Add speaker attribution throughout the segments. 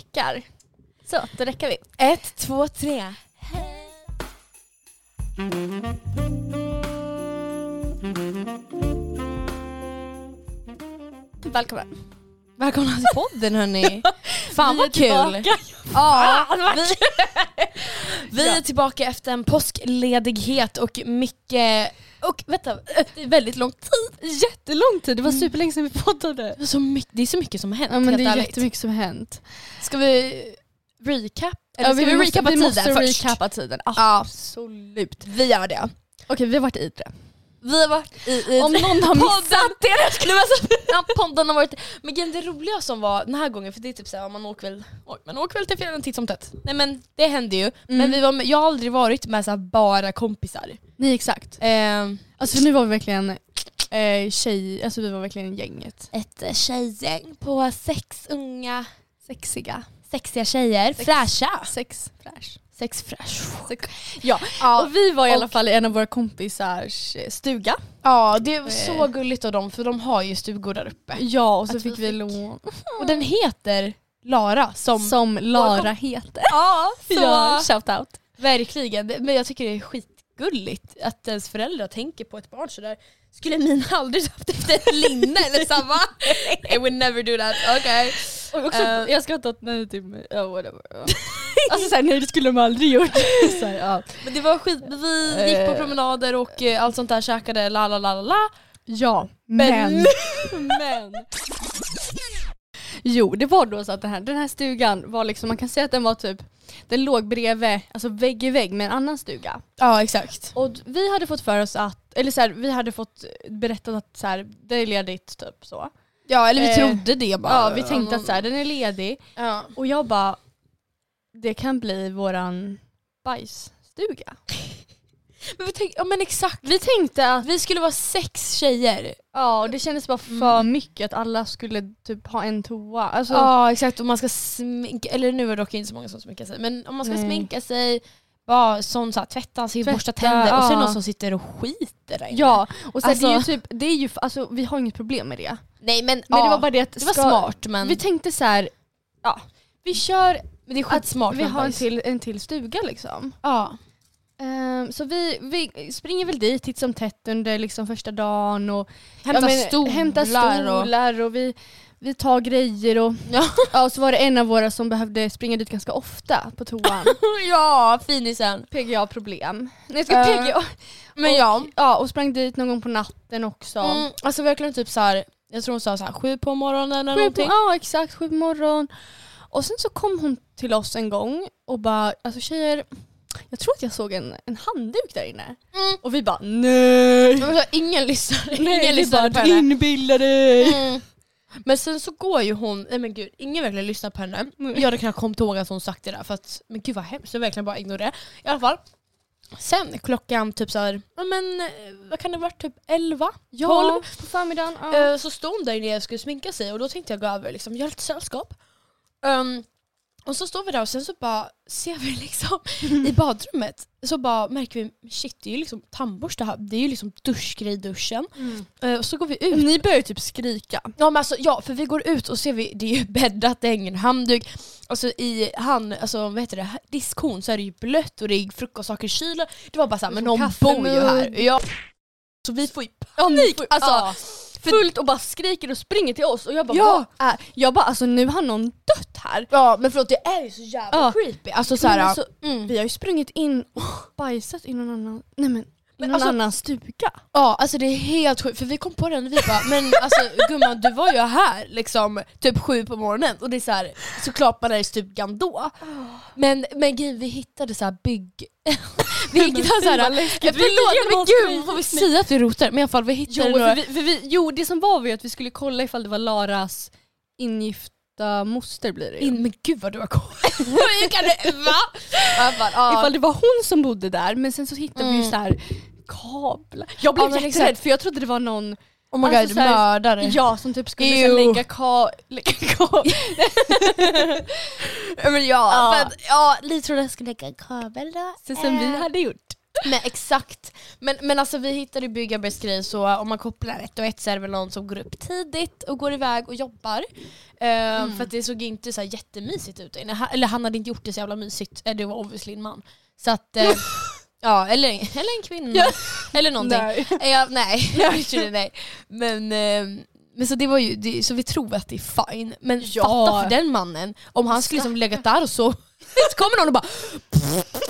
Speaker 1: räckar. Så, då räcker vi.
Speaker 2: Ett, två, tre.
Speaker 1: Välkomna.
Speaker 2: Välkomna till podden hörni. Fan
Speaker 1: Vi är
Speaker 2: vad kul.
Speaker 1: tillbaka.
Speaker 3: Ah!
Speaker 2: Ja,
Speaker 1: Fan, vad
Speaker 2: vi, vi är tillbaka efter en påskledighet och mycket, och vänta, eh, det är väldigt lång tid.
Speaker 3: Jättelång tid, det var superlänge sedan vi poddade.
Speaker 2: Det är så mycket, det är så mycket som har hänt
Speaker 3: Ja men
Speaker 2: helt
Speaker 3: det är
Speaker 2: ärligt.
Speaker 3: jättemycket som har hänt.
Speaker 2: Ska vi recap? Eller
Speaker 3: Ja,
Speaker 2: ska vi,
Speaker 3: måste-
Speaker 2: recapa
Speaker 3: vi måste
Speaker 2: tiden först?
Speaker 3: recappa tiden. Ah,
Speaker 2: Ja,
Speaker 3: Absolut.
Speaker 2: vi gör det.
Speaker 3: Okej vi har varit i Idre.
Speaker 2: Vi har varit i, i
Speaker 3: Om någon har missat
Speaker 2: det! Jag skulle bara säga- alltså, Ja, podden har varit... Men grejen, det roliga som var den här gången, för det är typ såhär, man åker väl, oj, man åker väl till fjällen titt som tätt. Nej men det hände ju. Men
Speaker 3: Mm.
Speaker 2: vi var med, jag har aldrig varit med såhär, bara kompisar.
Speaker 3: Nej exakt.
Speaker 2: Ehm,
Speaker 3: Alltså för nu var vi verkligen eh, tjej, alltså vi var verkligen gänget.
Speaker 1: Ett eh, tjejgäng på sex unga,
Speaker 3: Sexiga.
Speaker 1: sexiga tjejer.
Speaker 2: Sex.
Speaker 1: Fräscha.
Speaker 3: Sex fräsch.
Speaker 2: sex fresh.
Speaker 3: Ja. Och vi var i alla
Speaker 2: Och-
Speaker 3: fall i en av våra kompisars eh, stuga.
Speaker 2: Ja det var
Speaker 3: Eh.
Speaker 2: så gulligt av dem för de har ju stugor där uppe.
Speaker 3: Ja och så
Speaker 2: Att vi
Speaker 3: fick vi
Speaker 2: fick-
Speaker 3: lån.
Speaker 2: Och den heter Lara som...
Speaker 3: Som Lara heter.
Speaker 2: ja, så...
Speaker 3: Ja, shoutout.
Speaker 2: Verkligen, Det- men jag tycker det är skitgulligt att ens föräldrar tänker på ett barn sådär. Skulle mina aldrig döpt efter ett linne eller samma? I would never do that, okej.
Speaker 3: Och också,
Speaker 2: Eh.
Speaker 3: jag skrattar åt när det typ, ja whatever. Ja. alltså såhär, nej det skulle de aldrig gjort. så här, ja.
Speaker 2: Men det var skit, vi gick på promenader och eh, allt sånt där, käkade la la la la la.
Speaker 3: ja,
Speaker 2: Men-
Speaker 3: men. men. Jo, det var då så att den här, den här stugan var liksom, man kan säga att den var typ, den låg bredvid, alltså vägg i vägg med en annan stuga.
Speaker 2: Ja exakt.
Speaker 3: Och vi hade fått för oss att, eller så här, vi hade fått berättat att så här, det är ledigt typ så.
Speaker 2: Ja eller vi
Speaker 3: Eh,
Speaker 2: trodde det bara.
Speaker 3: Ja, vi tänkte att så här, den är ledig.
Speaker 2: Ja.
Speaker 3: Och jag bara, det kan bli våran bajsstuga.
Speaker 2: Men, vi tänkte, ja, men exakt,
Speaker 3: Vi tänkte att,
Speaker 2: vi skulle vara sex tjejer.
Speaker 3: ja och det kändes bara
Speaker 2: Mm.
Speaker 3: för mycket att alla skulle typ ha en toa. Alltså,
Speaker 2: Ja exakt, om man ska sminka, eller nu är det dock inte så många som sminkar sig, men om man ska
Speaker 3: Nej.
Speaker 2: sminka sig, bara sån så här, tvätta sig,
Speaker 3: Tvätta,
Speaker 2: borsta tänder och så är det
Speaker 3: ja.
Speaker 2: någon som sitter och skiter där inne.
Speaker 3: Ja, och sen det är ju
Speaker 2: Alltså-
Speaker 3: typ, det är ju, alltså, vi har inget problem med det.
Speaker 2: Nej men,
Speaker 3: Men
Speaker 2: ja,
Speaker 3: det var bara det att,
Speaker 2: det var
Speaker 3: ska-
Speaker 2: smart men,
Speaker 3: vi tänkte så här, ja, vi kör,
Speaker 2: men det är skitsmart.
Speaker 3: vi
Speaker 2: med
Speaker 3: har en
Speaker 2: bajs.
Speaker 3: till, en till stuga liksom.
Speaker 2: Ja.
Speaker 3: Ehm, så vi, vi springer väl dit titt som tätt under liksom första dagen och
Speaker 2: Hämta
Speaker 3: ja, men,
Speaker 2: stolar,
Speaker 3: hämta stolar och, vi, vi tar grejer och, ja. och så var det en av våra som behövde springa dit ganska ofta på toan.
Speaker 2: och... ja, finisen.
Speaker 3: PGA-problem. Nej jag
Speaker 2: Eh,
Speaker 3: ska PGA.
Speaker 2: Men ja,
Speaker 3: Ja och sprang dit någon gång på natten också.
Speaker 2: mm, alltså verkligen typ så här. jag tror hon sa så här, sju på morgonen eller
Speaker 3: Sju på,
Speaker 2: någonting.
Speaker 3: ja exakt, sju på morgon. Och sen så kom hon till oss en gång och bara, alltså tjejer, jag tror att jag såg en, en handduk där inne.
Speaker 2: Mm.
Speaker 3: Och vi bara nej!
Speaker 2: Men så, ingen lyssnade, ingen
Speaker 3: vi
Speaker 2: lyssnade på
Speaker 3: bara
Speaker 2: henne.
Speaker 3: inbilla dig!
Speaker 2: Mm. Men sen så går ju hon, nej men gud, ingen verkligen lyssnar på henne. Jag hade knappt kommit ihåg att hon sagt det där för att, men gud vad hemskt, jag verkligen bara ignorerade. I alla fall. Sen klockan typ såhär, ja men eh, vad kan det vara, typ 11?
Speaker 3: Ja,
Speaker 2: Tolv.
Speaker 3: på förmiddagen. Ja.
Speaker 2: Eh, Så stod hon där nere och skulle sminka sig och då tänkte jag gå över liksom, göra lite sällskap. Ehm, och så står vi där och sen så bara ser vi liksom i badrummet så bara märker vi shit det är ju liksom tandborste här, det är ju liksom duschgrej i duschen.
Speaker 3: Mm.
Speaker 2: Eh, och så går vi ut
Speaker 3: Ni började typ skrika.
Speaker 2: Ja, men alltså, ja, för vi går ut och ser vi, det är ju bäddat, det hänger en handduk. Alltså i han, alltså, vad heter det, diskhon så är det ju blött och det är frukostsaker i kylen. Det var bara såhär, men
Speaker 3: Som
Speaker 2: någon bor ju här.
Speaker 3: kaffemugg.
Speaker 2: Ja. Så vi får ju panik!
Speaker 3: Alltså,
Speaker 2: alltså,
Speaker 3: Fullt och bara skriker och springer till oss och jag bara
Speaker 2: Ja.
Speaker 3: vad är... Jag bara alltså nu har någon dött här.
Speaker 2: ja men förlåt det är ju så jävla
Speaker 3: Ja.
Speaker 2: creepy. Alltså
Speaker 3: Så här,
Speaker 2: såhär,
Speaker 3: alltså,
Speaker 2: mm.
Speaker 3: Vi har ju sprungit in och bajsat i någon annan, nej men,
Speaker 2: Men
Speaker 3: men någon
Speaker 2: alltså-
Speaker 3: annan stuga.
Speaker 2: Ja, alltså det är helt sjukt, för vi kom på den och vi bara men alltså gumman du var ju här liksom typ sju på morgonen och det är så här, såklart man är i stugan då. Men, men gud vi hittade så här bygg... vi hittade så här,
Speaker 3: vad
Speaker 2: Ja,
Speaker 3: läskigt. Vi
Speaker 2: förlåt
Speaker 3: gick
Speaker 2: men
Speaker 3: igenom
Speaker 2: gud
Speaker 3: oss.
Speaker 2: får vi säga att vi rotar? Men i alla fall vi
Speaker 3: Jo,
Speaker 2: hittade några...
Speaker 3: för vi, för vi, jo det som var var ju att vi skulle kolla ifall det var Laras ingifta moster blir det ju.
Speaker 2: In, men gud vad du har koll. Hur kan du, va? Jag bara, ja.
Speaker 3: Ifall det var hon som bodde där men sen så hittade vi
Speaker 2: Mm.
Speaker 3: ju så här kablar. Jag blev
Speaker 2: Ja, men
Speaker 3: jätterädd
Speaker 2: exakt.
Speaker 3: för jag trodde det var någon
Speaker 2: Oh my
Speaker 3: alltså
Speaker 2: god,
Speaker 3: så här-
Speaker 2: mördare.
Speaker 3: ja, som typ skulle så här,
Speaker 2: Ew.
Speaker 3: lägga ka... Lägga ka
Speaker 2: men ja,
Speaker 3: Ja.
Speaker 2: för att, ja ni trodde jag skulle lägga en kabel då?
Speaker 3: Äh. så som vi hade gjort.
Speaker 2: Men exakt. Men, men alltså vi hittade byggarbets grej så om man kopplar ett och ett så är det väl någon som går upp tidigt och går iväg och jobbar. Eh,
Speaker 3: Mm.
Speaker 2: För att det såg inte så här jättemysigt ut. där inne. Ha- Eller han hade inte gjort det så jävla mysigt. Eh, Det var obviously en man. Så att, eh, ja eller, eller en kvinna.
Speaker 3: Ja.
Speaker 2: Eller någonting.
Speaker 3: Nej.
Speaker 2: Eh, Ja, nej, actually, nej. Men, eh, men så det var ju, det, så vi tror att det är fine. Men
Speaker 3: Ja.
Speaker 2: fatta för den mannen, om han skulle liksom legat där och så, så kommer någon och bara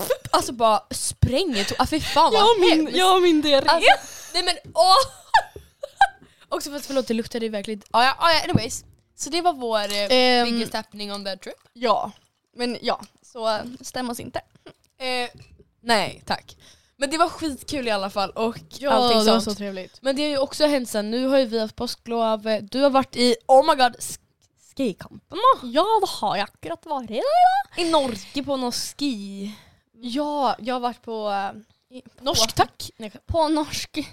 Speaker 2: Alltså bara spränger to- ah, fy fan vad
Speaker 3: Jag och min,
Speaker 2: hemskt.
Speaker 3: jag och min diarré.
Speaker 2: Alltså, nej men åh! Också för att förlåt det luktade ju verkligen ah, ja, ah, ja, anyways. Så det var vår eh,
Speaker 3: Ehm,
Speaker 2: biggest happening on that trip.
Speaker 3: ja, men ja. Så eh, stäm oss inte.
Speaker 2: Eh, nej tack. Men det var skitkul i alla fall och
Speaker 3: Allting
Speaker 2: allting
Speaker 3: sånt.
Speaker 2: sånt.
Speaker 3: trevligt.
Speaker 2: Men det har ju också hänt sen, nu har ju vi haft påsklov, eh, du har varit i, oh my god, sk- skikampen
Speaker 3: Ja, vad har jag akkurat varit?
Speaker 2: i Norge på någon ski.
Speaker 3: Ja, jag har varit på, eh, i- på
Speaker 2: Norsk tack! Nej,
Speaker 3: på norsk,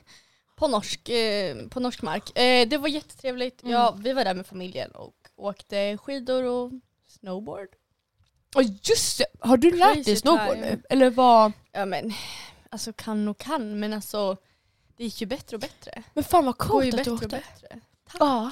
Speaker 3: på norsk, eh, på norsk mark. Eh, det var jättetrevligt.
Speaker 2: Mm.
Speaker 3: Ja, vi var där med familjen och åkte skidor och snowboard.
Speaker 2: Och just det, har du lärt dig
Speaker 3: Crazy
Speaker 2: snowboard
Speaker 3: time.
Speaker 2: nu? Eller vad?
Speaker 3: Ja men, alltså kan och kan, men alltså det gick ju bättre och bättre.
Speaker 2: Men fan vad
Speaker 3: Det går ju
Speaker 2: coolt att du
Speaker 3: bättre och
Speaker 2: åkte.
Speaker 3: bättre.
Speaker 2: Ja.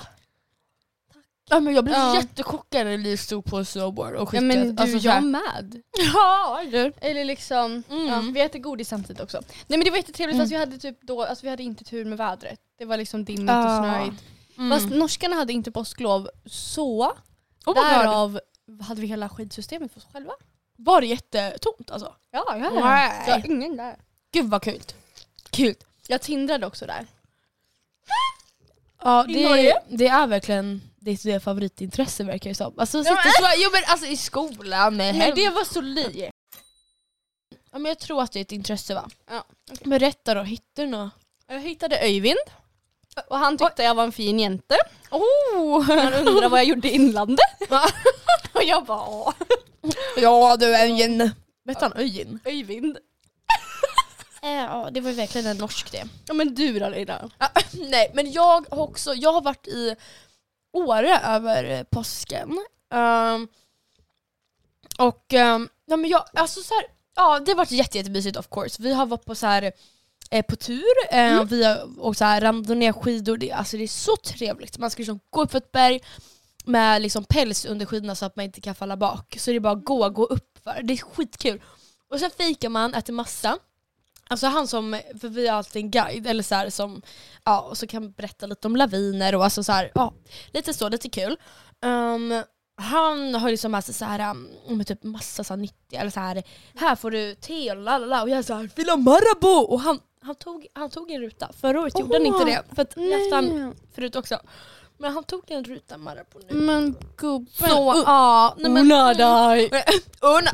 Speaker 2: ja men jag blev
Speaker 3: Ja.
Speaker 2: jättechockad när vi stod på snowboard och
Speaker 3: Ja
Speaker 2: skickade.
Speaker 3: men du,
Speaker 2: alltså, så
Speaker 3: jag
Speaker 2: här-
Speaker 3: med.
Speaker 2: Ja, du.
Speaker 3: Eller liksom,
Speaker 2: Mm.
Speaker 3: ja, vi äter godis samtidigt också. Nej men det var jättetrevligt,
Speaker 2: Mm.
Speaker 3: alltså, vi hade typ då, alltså vi hade inte tur med vädret. Det var liksom dimmigt
Speaker 2: Ja.
Speaker 3: och snöigt.
Speaker 2: Ah. Mm.
Speaker 3: Fast norskarna hade inte påsklov så
Speaker 2: Oh my God.
Speaker 3: Därav hade vi hela skidsystemet för oss själva.
Speaker 2: Var det jättetomt alltså?
Speaker 3: Ja,
Speaker 2: hade det.
Speaker 3: Så jag har ingen där.
Speaker 2: Gud vad kul. Kul.
Speaker 3: Jag tindrade också där.
Speaker 2: Ja,
Speaker 3: I
Speaker 2: det,
Speaker 3: Norge?
Speaker 2: det är verkligen ditt det favoritintresse verkar det som. Alltså, sitta
Speaker 3: men-
Speaker 2: så, jo men alltså i skolan, med hem.
Speaker 3: Men det var så li.
Speaker 2: ja, men jag tror att det är ett intresse va?
Speaker 3: Ja,
Speaker 2: Men rätta då, hittar du något?
Speaker 3: Jag hittade Öyvind. Och han tyckte jag var en fin jente.
Speaker 2: Oh!
Speaker 3: Han undrade vad jag gjorde i inlandet.
Speaker 2: Va?
Speaker 3: och jag bara åh.
Speaker 2: Ja du Öjen. Vet han Öjen?
Speaker 3: Öyvind.
Speaker 2: Ja det var ju verkligen en norsk det.
Speaker 3: Ja men du då Lina.
Speaker 2: Ah, Nej men jag har också, jag har varit i Åre över eh, påsken. Ehm, och ehm, ja, men jag, alltså så här, ja det har varit jätte, jättemysigt of course. Vi har varit på så här eh, på tur, eh, vi har åkt så här randonnéskidor, det, alltså det är så trevligt. Man ska liksom gå upp för ett berg med liksom päls under skidorna så att man inte kan falla bak. Så det är bara att gå, gå upp för. Det är skitkul. Och sen fikar man, äter massa. Alltså han som, för vi har alltid en guide, eller så här som, ja, och så kan berätta lite om laviner och alltså så här, ja, lite så, lite kul. Ehm, han har liksom med sig så här, um, med typ massa så här nyttiga, eller så här, här får du te och lalala och jag är så här, vill ha Marabou! Och han, han, tog, han tog en ruta, förra året gjorde han inte
Speaker 3: Åh,
Speaker 2: det, för att jag haft han förut också. Men han tog en ruta Marabou nu.
Speaker 3: Men gubben.
Speaker 2: Så, ja. Nej, men,
Speaker 3: Unna dig.
Speaker 2: Unna.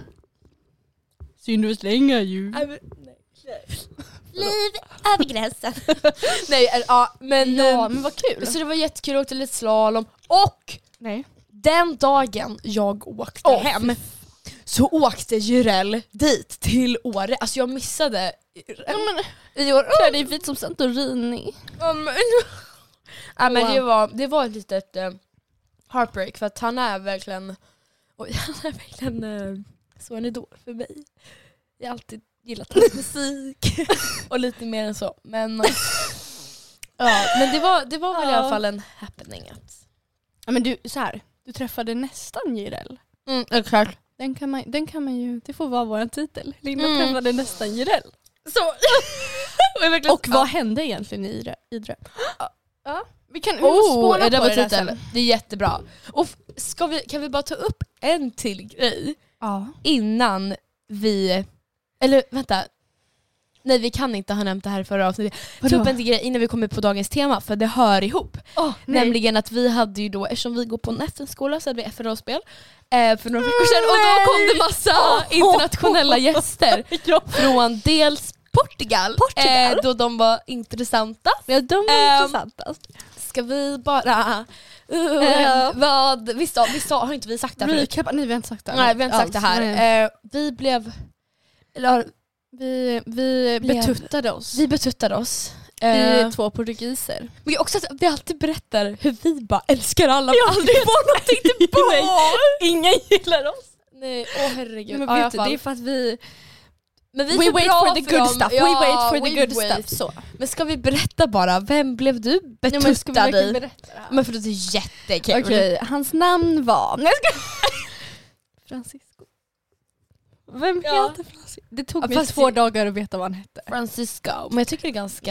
Speaker 3: Synd du slänger ju.
Speaker 2: Nej, men- nej, nej.
Speaker 4: Liv över gränsen.
Speaker 2: Nej, eller, ja, men,
Speaker 3: Ja
Speaker 2: ehm,
Speaker 3: men vad kul.
Speaker 2: Så det var jättekul, jag åkte lite slalom. Och
Speaker 3: Nej.
Speaker 2: den dagen jag åkte
Speaker 3: Åh,
Speaker 2: hem så åkte Jurell dit till Åre. Alltså jag missade...
Speaker 3: Ja, men,
Speaker 2: I år.
Speaker 3: klär dig vit som Santorini.
Speaker 2: Um, ja, men det, var, det var ett litet eh, heartbreak för att han är verkligen, oj, han är verkligen eh, så en idol för mig. Jag har alltid gillat hans musik och lite mer än så. Men, eh, ja, men det var, det var väl i
Speaker 3: Ja.
Speaker 2: alla fall en happening. Att,
Speaker 3: Ja men du så här. Du träffade nästan Jireel.
Speaker 2: mm, exakt.
Speaker 3: Den kan, man, den kan man ju, det får vara vår titel. Linda
Speaker 2: Mm.
Speaker 3: träffade nästan Jireel.
Speaker 2: Så. och jag verkligen-
Speaker 3: Och vad hände egentligen i Idre? Idre? Ja. Vi kan vi måste
Speaker 2: Oh,
Speaker 3: spåna
Speaker 2: det
Speaker 3: på
Speaker 2: var
Speaker 3: det där
Speaker 2: titeln.
Speaker 3: sen.
Speaker 2: Det är jättebra. Och f- ska vi, kan vi bara ta upp en till grej?
Speaker 3: Ja.
Speaker 2: innan vi... Eller vänta. Nej vi kan inte ha nämnt det här i förra avsnittet. Ta upp en till grej innan vi kommer på dagens tema för det hör ihop.
Speaker 3: Åh, nej.
Speaker 2: Nämligen att vi hade ju då, eftersom vi går på en FN-skola så hade vi FNA-spel eh, för några veckor sedan och
Speaker 3: Nej.
Speaker 2: då kom det massa internationella gäster
Speaker 3: Ja.
Speaker 2: från dels Portugal, eh,
Speaker 3: Portugal.
Speaker 2: då de var intressanta.
Speaker 3: Ja, de var
Speaker 2: Ehm,
Speaker 3: intressantast.
Speaker 2: Ska vi bara... Uh,
Speaker 3: Ja.
Speaker 2: vad, vi sa, vi sa, har inte vi sagt det här förut?
Speaker 3: Recap, nej Eh. vi har inte sagt det.
Speaker 2: Nej vi har inte sagt det
Speaker 3: alls. Nej.
Speaker 2: här. Eh, vi blev... Eller,
Speaker 3: Vi, vi
Speaker 2: Blev-
Speaker 3: betuttade oss.
Speaker 2: Vi betuttade oss.
Speaker 3: Vi
Speaker 2: Eh,
Speaker 3: två portugiser.
Speaker 2: men också att vi alltid berättar hur vi bara älskar alla. Vi aldrig får någonting tillbaka.
Speaker 3: Ingen gillar oss.
Speaker 2: Nej, åh herregud.
Speaker 3: Men
Speaker 2: Ja, i alla
Speaker 3: vet du,
Speaker 2: fall.
Speaker 3: det är för att vi
Speaker 2: Men vi är
Speaker 3: We
Speaker 2: för
Speaker 3: wait
Speaker 2: bra
Speaker 3: for the good
Speaker 2: dem.
Speaker 3: stuff.
Speaker 2: Ja,
Speaker 3: we wait for the
Speaker 2: we
Speaker 3: good
Speaker 2: wait.
Speaker 3: stuff. Så.
Speaker 2: Men ska vi berätta bara, vem blev du betuttad i? Men för det är jättekul.
Speaker 3: Okej, hans namn var... Nej, jag ska... Francisco. Vem
Speaker 2: Ja.
Speaker 3: heter Francisco? Det tog
Speaker 2: Ja,
Speaker 3: mig
Speaker 2: fast
Speaker 3: två
Speaker 2: det-
Speaker 3: dagar att veta vad han hette.
Speaker 5: Francisco. Men jag tycker det är ganska...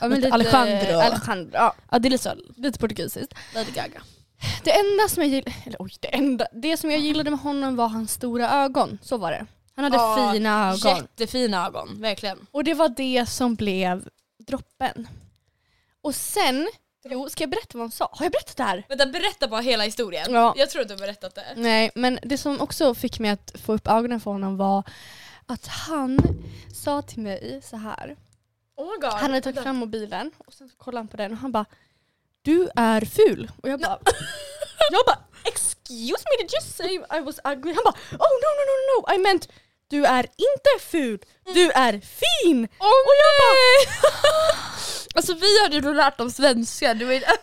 Speaker 3: Ja, men lite-
Speaker 5: Alejandro.
Speaker 3: Alejandro. Ja,
Speaker 5: Ja, det är lite så.
Speaker 3: lite portugisiskt.
Speaker 5: Lady Gaga.
Speaker 3: Det enda som jag gillade, eller oj, det enda, det som jag gillade med honom var hans stora ögon. Så var det. Han hade
Speaker 5: Ja,
Speaker 3: fina ögon.
Speaker 5: Jättefina ögon, verkligen.
Speaker 3: Och det var det som blev droppen. Och sen, jo, ska jag berätta vad hon sa? Har jag berättat det här?
Speaker 2: Vänta, berätta bara hela historien.
Speaker 3: Ja.
Speaker 2: Jag tror att du har berättat det.
Speaker 3: Nej, men det som också fick mig att få upp ögonen för honom var att han sa till mig så här.
Speaker 5: Oh my god.
Speaker 3: Han hade tagit fram mobilen och sen så kollade han på den och han bara Du är ful. Och jag bara Jag bara excuse me did you say I was ugly? Han bara oh no no no no I meant du är inte ful, du är fin!
Speaker 2: Åh och jag bara... alltså vi hade då lärt om svenska. Du vet.
Speaker 3: Ja!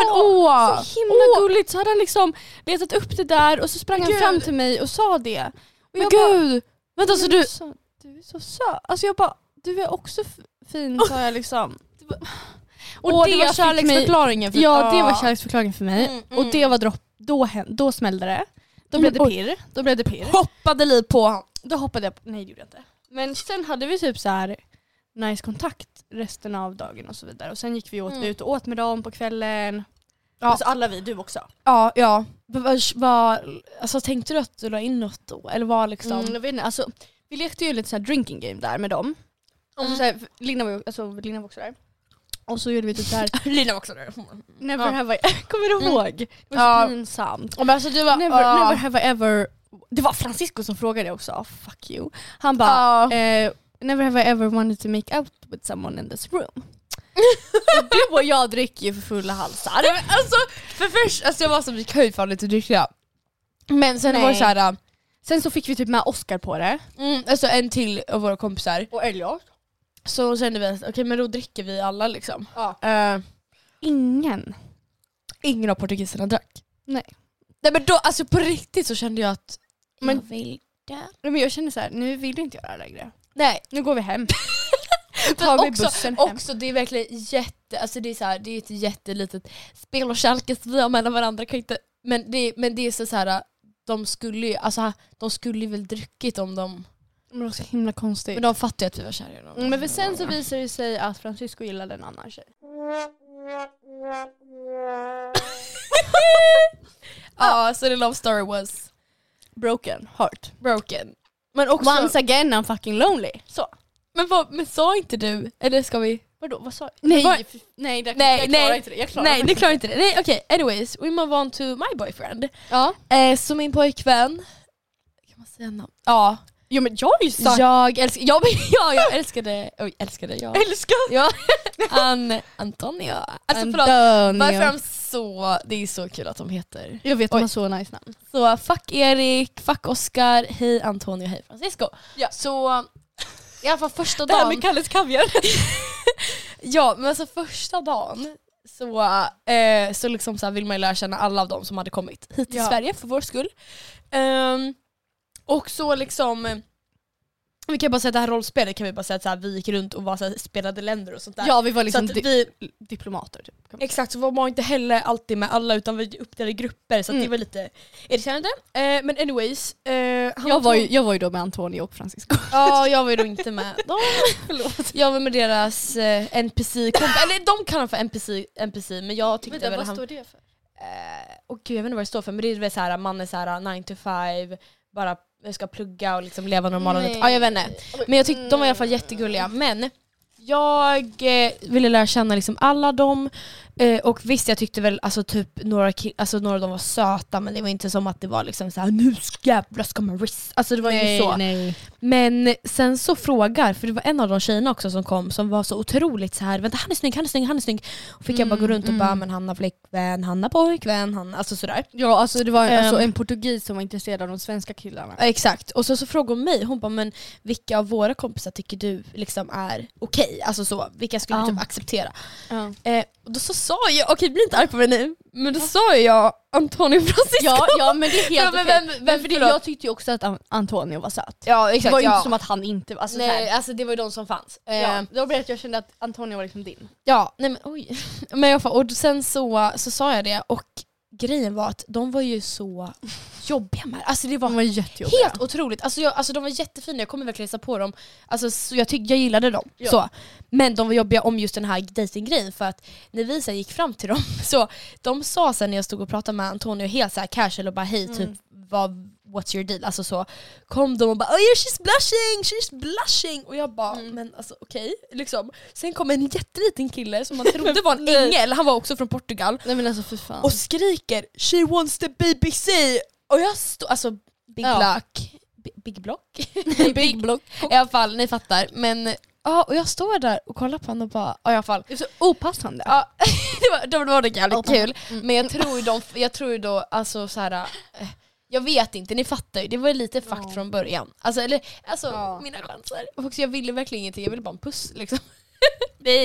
Speaker 2: Men åh!
Speaker 3: Så himla
Speaker 2: Åh.
Speaker 3: gulligt. Så hade han liksom letat upp det där och så sprang han
Speaker 2: Gud.
Speaker 3: fram till mig och sa det. Och
Speaker 2: Men
Speaker 3: jag bara,
Speaker 2: gud! Vänta så
Speaker 3: men
Speaker 2: du...
Speaker 3: alltså, du är så söt. Alltså jag bara, du är också f- fin sa jag liksom. Och
Speaker 2: Åh,
Speaker 3: det, var kärleksförklaringen.
Speaker 2: för- Ah.
Speaker 3: Ja det var kärleksförklaringen för mig.
Speaker 2: Mm,
Speaker 3: Och det var dropp, då, hän- då smällde det. Då blev
Speaker 2: Mm,
Speaker 3: det pirr. Då blev det pirr.
Speaker 2: Hoppade liv på honom.
Speaker 3: Då hoppade jag på, nej det gjorde jag inte. Men sen hade vi typ så här nice kontakt resten av dagen och så vidare. Och sen gick vi åt,
Speaker 2: Mm.
Speaker 3: ut och åt med dem på kvällen.
Speaker 5: Ja.
Speaker 3: Alltså alla vi, du också.
Speaker 5: Ja, ja. Men Vad, vad, alltså, tänkte du att du la in något då? Eller var liksom...
Speaker 3: Mm, jag vet inte, alltså, vi lekte ju lite så här drinking game där med dem.
Speaker 2: Mm.
Speaker 3: Alltså, så här, för- Lina, var, ju- alltså, Lina var också där. Och så gjorde vi typ så här.
Speaker 2: Lina var också där.
Speaker 3: never
Speaker 2: Ja.
Speaker 3: have I, kommer du
Speaker 2: Mm.
Speaker 3: ihåg? Det var
Speaker 5: Ja.
Speaker 3: så pinsamt.
Speaker 5: Ja, men alltså, du var,
Speaker 3: Never,
Speaker 5: ja.
Speaker 3: never have I ever, det var Francisco som frågade också, Ah, fuck you. Han bara,
Speaker 5: Ja.
Speaker 3: eh, never have I ever wanted to make out with someone in this room. Så du och jag dricker ju för fulla halsar.
Speaker 2: Nej, men alltså, för först, alltså jag var som gick höjd för lite dryckliga. Men sen
Speaker 3: Nej.
Speaker 2: var det så här,
Speaker 3: Sen så fick vi typ med Oscar på det.
Speaker 2: mm, alltså en till av våra kompisar.
Speaker 3: Och Elliot.
Speaker 5: Så kände vi att okej men då dricker vi alla liksom.
Speaker 3: Ja.
Speaker 5: Eh,
Speaker 3: Ingen.
Speaker 2: Ingen av portugiserna drack.
Speaker 3: Nej.
Speaker 2: Nej men då, alltså på riktigt så kände jag att
Speaker 3: Men-
Speaker 6: jag vill dö.
Speaker 3: Men jag känner så här, nu vill inte jag det här längre.
Speaker 2: Nej,
Speaker 3: Nu går vi hem.
Speaker 2: men
Speaker 3: tar vi
Speaker 2: också,
Speaker 3: bussen hem.
Speaker 2: också det är verkligen jätte, alltså det är så här, det är ett jättelitet spel och kärlekes vi har mellan varandra kan inte, men det, men det är så, så här, de skulle ju, alltså de skulle ju väl druckit om de,
Speaker 3: Men det var så himla konstigt.
Speaker 2: men de fattar ju att vi var kära i dem.
Speaker 3: Mm, Men för sen så visade det sig att Francisco gillade en annan tjej.
Speaker 2: Ja, så the love story was
Speaker 3: Broken heart.
Speaker 2: broken. Men också,
Speaker 3: Once again I'm fucking lonely. Så.
Speaker 2: men, vad, men sa inte du, eller ska vi?
Speaker 3: Vadå, vad sa jag?
Speaker 2: Nej.
Speaker 3: Vad- nej, det,
Speaker 2: Nej,
Speaker 3: jag klarar
Speaker 2: nej.
Speaker 3: inte det. Jag klarar
Speaker 2: Nej,
Speaker 3: inte
Speaker 2: det klarar inte det. Nej okej, anyways, we move on to my boyfriend.
Speaker 3: Ja.
Speaker 2: Eh, så min pojkvän, kan man säga namn? Ja.
Speaker 3: Jo men jag har ju sagt...
Speaker 2: Jag älskar, jag, ja, jag älskade, oj älskade jag.
Speaker 3: älskar
Speaker 2: An, Antonio. Alltså förlåt, varför är
Speaker 3: Antonio.
Speaker 2: de så, det är så kul att de heter.
Speaker 3: Jag vet,
Speaker 2: Oj.
Speaker 3: de har så nice namn.
Speaker 2: Så fuck Erik, fuck Oscar, hej Antonio, hej Francisco.
Speaker 3: Ja.
Speaker 2: Så i alla fall första dagen,
Speaker 3: Kalles kaviar.
Speaker 2: ja men alltså första dagen så, eh, så, liksom så här vill man ju lära känna alla av dem som hade kommit hit till
Speaker 3: Ja.
Speaker 2: Sverige för vår skull. Ehm, och så liksom eh, vi kan bara säga att det här rollspelet kan vi bara säga att så här, vi gick runt och var så här, spelade länder och sånt där.
Speaker 3: Ja vi var
Speaker 2: liksom
Speaker 3: liksom di-
Speaker 2: vi,
Speaker 3: diplomater. Typ. kan man-
Speaker 2: Exakt, så var man inte heller alltid med alla utan vi uppdelade i grupper så att
Speaker 3: Mm.
Speaker 2: det var lite irriterande. Eh, men anyways. Eh, han
Speaker 3: Jag var, ju, jag var ju då med Antonio och Francisco.
Speaker 2: Ja, jag var ju då inte med dem. Jag var med deras eh, NPC-kompis, eller de kallar honom för NPC, NPC men jag tyckte väl han...
Speaker 3: det för?
Speaker 2: Eh, och gud, jag vet inte vad det står för men det är väl såhär, man är såhär 9 to 5, bara ska plugga och liksom leva normala livet. Ja jag vet inte. Men jag tyckte de var i alla
Speaker 3: Mm.
Speaker 2: fall jättegulliga. Men jag eh, ville lära känna liksom alla dem. Eh, och visst jag tyckte väl alltså, typ några, ki- alltså, några av dem var söta men det var inte som att det var liksom såhär nu ska- jävlar ska man risk. Alltså det var
Speaker 3: Nej,
Speaker 2: inte så.
Speaker 3: nej.
Speaker 2: Men sen så frågar, för det var en av de tjejerna också som kom som var så otroligt så här, vänta han är snygg, han är snygg, han är snygg. Och fick jag bara gå
Speaker 3: Mm,
Speaker 2: runt och bara men han har flickvän, han har pojkvän, han, alltså sådär.
Speaker 3: Ja alltså det var en, alltså,
Speaker 2: Ehm.
Speaker 3: en portugis som var intresserad av de svenska killarna.
Speaker 2: Ja, Exakt, och så, så frågade hon mig, hon bara men vilka av våra kompisar tycker du liksom är okej? Alltså så, vilka skulle du
Speaker 3: Ja.
Speaker 2: typ acceptera?
Speaker 3: Ja.
Speaker 2: Eh, Och då så sa jag, okej bli inte arg på mig nu, men då sa jag Antonio Francisco.
Speaker 3: Ja, ja men det är helt
Speaker 2: Ja,
Speaker 3: okej.
Speaker 2: men vem- vem-
Speaker 3: för det,
Speaker 2: förlåt.
Speaker 3: jag tyckte ju också att An- Antonio var söt.
Speaker 2: ja
Speaker 3: Det
Speaker 2: exakt.
Speaker 3: var ju
Speaker 2: ja.
Speaker 3: inte som att han inte var... Alltså, så
Speaker 2: Nej
Speaker 3: här,
Speaker 2: alltså det var ju de som fanns.
Speaker 3: ja,
Speaker 2: Eh,
Speaker 3: det var bara att jag kände att Antonio var liksom din.
Speaker 2: Ja, nej men oj. Men i alla fall, och sen så, så sa jag det och grejen var att de var ju så jobbiga med det. Alltså det var
Speaker 3: var jättejobbiga.
Speaker 2: helt otroligt. Alltså, jag, alltså de var jättefina, jag kommer verkligen hälsa på dem. Alltså, så jag, tyck, jag gillade dem.
Speaker 3: Ja.
Speaker 2: Så. Men de var jobbiga om just den här dejtinggrejen för att när vi sen gick fram till dem så de sa sen när jag stod och pratade med Antonio helt så här casual och bara hej
Speaker 3: Mm.
Speaker 2: typ vad, what's your deal? Alltså så kom de och bara oh yeah, she's blushing, she's blushing och jag bara
Speaker 3: Mm.
Speaker 2: men alltså okej liksom. Sen kom en jätteliten kille som man trodde var en ängel, han var också från Portugal
Speaker 3: Nej men alltså för fan.
Speaker 2: och skriker “She wants the BBC” och jag står... Alltså Big
Speaker 3: Ja.
Speaker 2: Block. Bi- Big Block? Nej, big Block. I alla fall, ni fattar. Men ja, och jag står där och kollar på honom och bara... Ja, i alla fall.
Speaker 3: det är så opassande.
Speaker 2: Ja, det var, det var- det var nog jävligt
Speaker 3: Ja.
Speaker 2: kul. Men jag tror ju de, jag tror ju då, alltså så här. eh, Jag vet inte, ni fattar ju. Det var ju lite fakt från början. Alltså, eller, alltså
Speaker 3: Ja.
Speaker 2: mina chanser. Och också, jag ville verkligen ingenting, jag ville bara en puss liksom.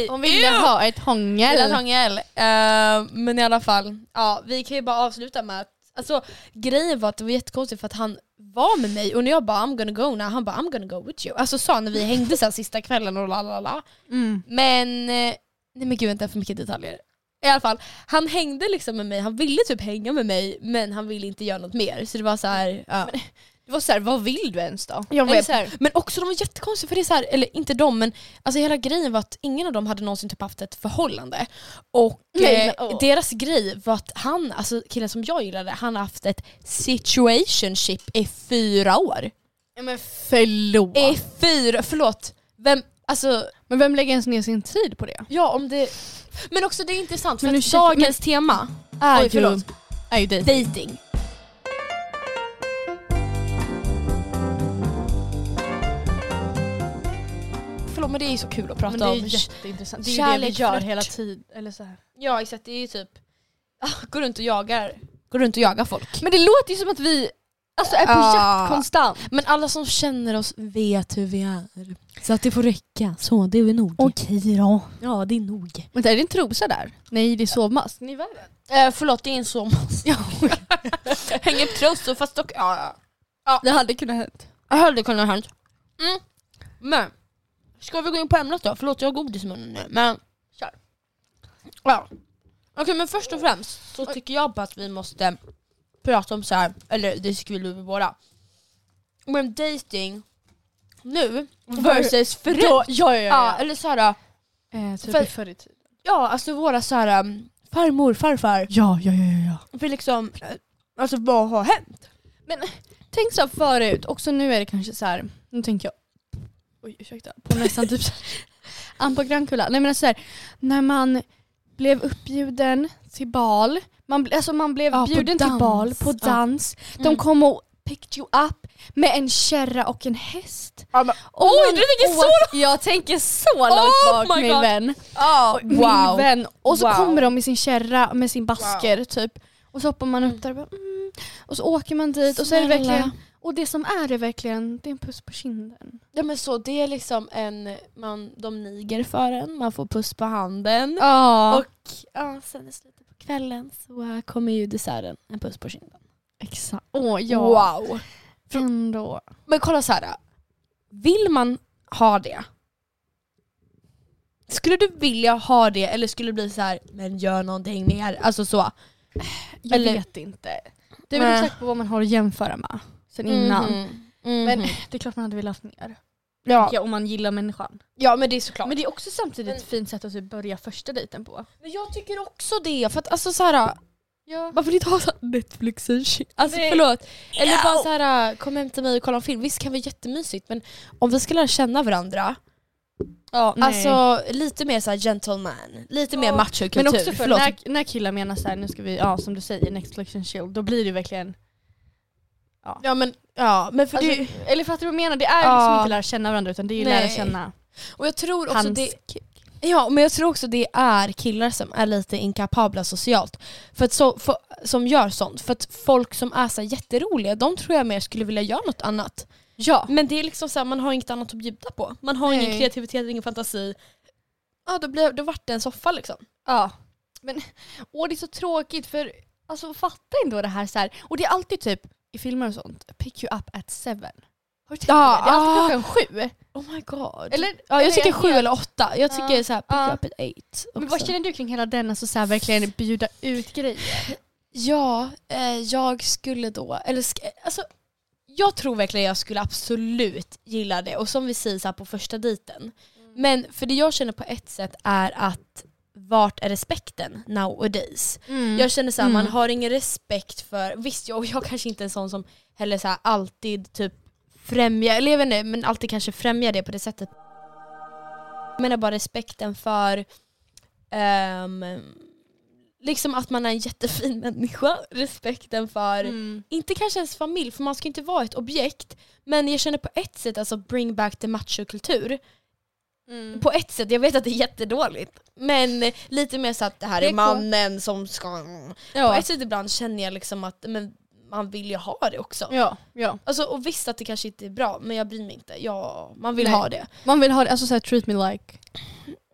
Speaker 2: Hon
Speaker 3: ha ett hångel.
Speaker 2: Lilla Tångel. Eh, men i alla fall, ja, vi kan ju bara avsluta med att alltså, grejen var att det var jättekonstigt för att han var med mig och när jag bara I'm gonna go now, han bara I'm gonna go with you. Alltså sa när vi hängde sen sista kvällen och la la la.
Speaker 3: Mm.
Speaker 2: Men, eh, nej men gud vänta för mycket detaljer. I alla fall, han hängde liksom med mig, han ville typ hänga med mig men han ville inte göra något mer. Så det var så här, ja.
Speaker 3: Det var såhär, vad vill du ens då?
Speaker 2: Jag
Speaker 3: Eller
Speaker 2: vet.
Speaker 3: så här,
Speaker 2: Men också de var jättekonstiga för det är så här, eller inte de men alltså hela grejen var att ingen av dem hade någonsin typ haft ett förhållande. Och
Speaker 3: Nej,
Speaker 2: eh,
Speaker 3: men, åh.
Speaker 2: deras grej var att han, alltså killen som jag gillade, han har haft ett situationship i fyra år.
Speaker 3: ja, men förlåt.
Speaker 2: I fyra, förlåt. Vem, alltså
Speaker 3: Men vem lägger ens ner sin tid på det?
Speaker 2: ja om det... Men också det är intressant för
Speaker 3: Men
Speaker 2: att
Speaker 3: ursäkta,
Speaker 2: dagens tema
Speaker 3: Är
Speaker 2: Oj, förlåt.
Speaker 3: Är ju dig.
Speaker 2: dating. Förlåt men det är ju så kul att prata
Speaker 3: Men det är
Speaker 2: om.
Speaker 3: jätteintressant. Det är ju det
Speaker 2: kärlek,
Speaker 3: vi gör
Speaker 2: flört.
Speaker 3: hela tiden. Eller så här.
Speaker 2: Ja exakt, det är ju typ gå runt och jagar. Gå runt och jagar folk.
Speaker 3: Men det låter ju som att vi alltså, är på
Speaker 2: Ja.
Speaker 3: jakt konstant.
Speaker 2: Men alla som känner oss vet hur vi är. Så att det får räcka. Så, det är nog.
Speaker 3: Okej då.
Speaker 2: Ja, det är nog.
Speaker 3: Men är det en trosa där? Nej, det är sovmask. Ni var
Speaker 2: Eh, förlåt, det är en sovmas.
Speaker 3: Ja,
Speaker 2: Häng upp trosor fast dock... Ja,
Speaker 3: Det hade kunnat hänt.
Speaker 2: ja. Jag hade kunnat ha hänt. Mm. Men, ska vi gå in på ämnet då? Förlåt, jag har godis i munnen nu. Men, kör. Ja. Okej, men först och främst så tycker jag bara att vi måste prata om så här, eller det skulle vi båda. Men dating nu versus förut.
Speaker 3: Ja, ja, ja.
Speaker 2: Ja,
Speaker 3: ja.
Speaker 2: eller såhär,
Speaker 3: Eh, typ
Speaker 2: För-
Speaker 3: i förr i tiden.
Speaker 2: ja alltså våra såhär um, farmor, farfar.
Speaker 3: Ja, ja, ja, ja, ja.
Speaker 2: För liksom, eh, alltså vad har hänt?
Speaker 3: Tänk så här förut, också nu är det kanske så här. nu tänker jag Oj, ursäkta. På nästan typ så här. Ann på Grönkulla. Nej men alltså så här, när man blev uppbjuden till bal, man, bl- alltså man blev
Speaker 2: Ja, på
Speaker 3: bjuden till
Speaker 2: dans.
Speaker 3: bal på
Speaker 2: Ja.
Speaker 3: dans, de
Speaker 2: Mm.
Speaker 3: kom och picked you up med en kärra och en häst.
Speaker 2: Ja, men,
Speaker 3: Och
Speaker 2: Oj,
Speaker 3: man-
Speaker 2: du tänker så Oh
Speaker 3: och- Jag tänker så långt bak
Speaker 2: my
Speaker 3: min
Speaker 2: God.
Speaker 3: vän.
Speaker 2: oh,
Speaker 3: Min vän. Och så
Speaker 2: Wow.
Speaker 3: kommer de i sin kärra med sin basker typ. Och så hoppar man upp där och, bara, mm. och så åker man dit och så är det
Speaker 2: Snälla.
Speaker 3: verkligen och det som är det verkligen, det är en puss på kinden.
Speaker 2: Ja men så det är liksom en, man, de niger för en, man får puss på handen.
Speaker 3: Ja,
Speaker 2: Och ja, sen i slutet på kvällen så eh, kommer ju desserten, en puss på kinden.
Speaker 3: exakt. Åh ja.
Speaker 2: Wow!
Speaker 3: Ändå.
Speaker 2: Men kolla så här. vill man ha det? Skulle du vilja ha det eller skulle det bli så här, men gör någonting mer? Alltså så.
Speaker 3: Jag
Speaker 2: Eller-
Speaker 3: vet inte. Det är väl
Speaker 2: Nej.
Speaker 3: exakt på vad man har att jämföra med
Speaker 2: Mhm.
Speaker 3: sen innan.
Speaker 2: Mm-hmm.
Speaker 3: Men det är klart man hade velat ha mer.
Speaker 2: ja.
Speaker 3: om man gillar människan.
Speaker 2: ja men det är såklart.
Speaker 3: Men det är också samtidigt ett fint sätt att typ börja första dejten på.
Speaker 2: Men jag tycker också det, för att alltså så här,
Speaker 3: Ja.
Speaker 2: Varför inte ha så här Netflix and shit? Alltså
Speaker 3: Nej.
Speaker 2: förlåt. Eller bara så här, kom hem till mig och kolla en film. Visst kan vara jättemysigt men om vi ska lära känna varandra,
Speaker 3: ja
Speaker 2: alltså lite mer så här gentleman, lite mer
Speaker 3: Ja.
Speaker 2: machokultur.
Speaker 3: Men också för
Speaker 2: förlåt.
Speaker 3: när, när killar menar såhär, nu ska vi, ja som du säger, next collection chill, då blir det verkligen...
Speaker 2: Ja men, ja, men för
Speaker 3: Alltså,
Speaker 2: det,
Speaker 3: Eller fattar du vad jag menar? Det är
Speaker 2: Ja.
Speaker 3: liksom inte lära känna varandra utan det är ju lära
Speaker 2: Nej.
Speaker 3: känna
Speaker 2: och jag tror också
Speaker 3: hans
Speaker 2: det, ja, men jag tror också det är killar som är lite inkapabla socialt. För att så, för, som gör sånt. För att folk som är så här jätteroliga, de tror jag mer skulle vilja göra något annat.
Speaker 3: Ja.
Speaker 2: Men det är liksom så här, man har inget annat att bjuda på. Man har
Speaker 3: Nej.
Speaker 2: ingen kreativitet, ingen fantasi. Ja, då, blir, då vart det en soffa liksom.
Speaker 3: ja. Men åh, det är så tråkigt för alltså fatta ändå det här så här. Och det är alltid typ i filmer och sånt, pick you up at seven. Har du tänkt
Speaker 2: Ja,
Speaker 3: på det? Det är alltid
Speaker 2: ah.
Speaker 3: klockan sju.
Speaker 2: Oh my god.
Speaker 3: Eller,
Speaker 2: ja,
Speaker 3: eller
Speaker 2: jag tycker
Speaker 3: är
Speaker 2: sju
Speaker 3: helt-
Speaker 2: eller åtta. Jag tycker
Speaker 3: Ja.
Speaker 2: så här, pick
Speaker 3: Ja.
Speaker 2: up at eight.
Speaker 3: Men
Speaker 2: också.
Speaker 3: vad känner du kring hela den, alltså så här, verkligen bjuda ut grejer?
Speaker 2: Ja, eh, jag skulle då, eller sk- alltså, jag tror verkligen jag skulle absolut gilla det. Och som vi säger så här på första
Speaker 3: Mm.
Speaker 2: dejten. Men för det jag känner på ett sätt är att vart är respekten nowadays? Jag känner så här, man
Speaker 3: Mm.
Speaker 2: har ingen respekt för, visst jag, och jag kanske inte är en sån som heller så här, alltid typ främjar, eller jag vet inte, men alltid kanske främjar det på det sättet. Jag menar bara respekten för ehm, liksom att man är en jättefin människa, respekten för
Speaker 3: Mm.
Speaker 2: inte kanske ens familj, för man ska inte vara ett objekt. Men jag känner på ett sätt, alltså bring back the machokultur.
Speaker 3: mm.
Speaker 2: På ett sätt, jag vet att det är jättedåligt. Men lite mer så att det här
Speaker 3: Det
Speaker 2: är,
Speaker 3: är klart.
Speaker 2: mannen som ska... På
Speaker 3: Ja.
Speaker 2: ett sätt ibland känner jag liksom att men, man vill ju ha det också.
Speaker 3: Ja, ja.
Speaker 2: Alltså, och visst att det kanske inte är bra, men jag bryr mig inte. Ja, man vill
Speaker 3: Nej.
Speaker 2: ha det.
Speaker 3: Man vill ha det, alltså såhär treat me like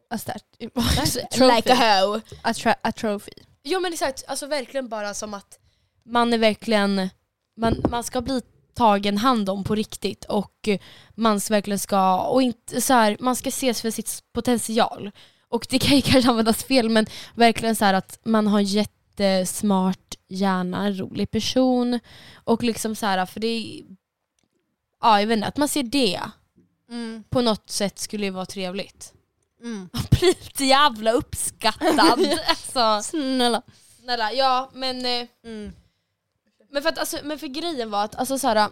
Speaker 3: as that. Trophy.
Speaker 2: Alltså, like a hoe.
Speaker 3: a, tra- a trophy.
Speaker 2: Ja men exakt, alltså verkligen bara som att man är verkligen, man, man ska bli tagen hand om på riktigt och man ska verkligen ska, och inte så här, man ska ses för sitt potential. Och det kan ju kanske användas fel men verkligen så här att man har en jättesmart hjärna, en rolig person och liksom så här för det är, ja jag vet inte, att man ser det på något sätt skulle ju vara trevligt. Bli lite jävla uppskattad. alltså.
Speaker 3: Snälla.
Speaker 2: Snälla, ja men, eh, men, för, att, alltså, men för grejen var att, alltså, så här,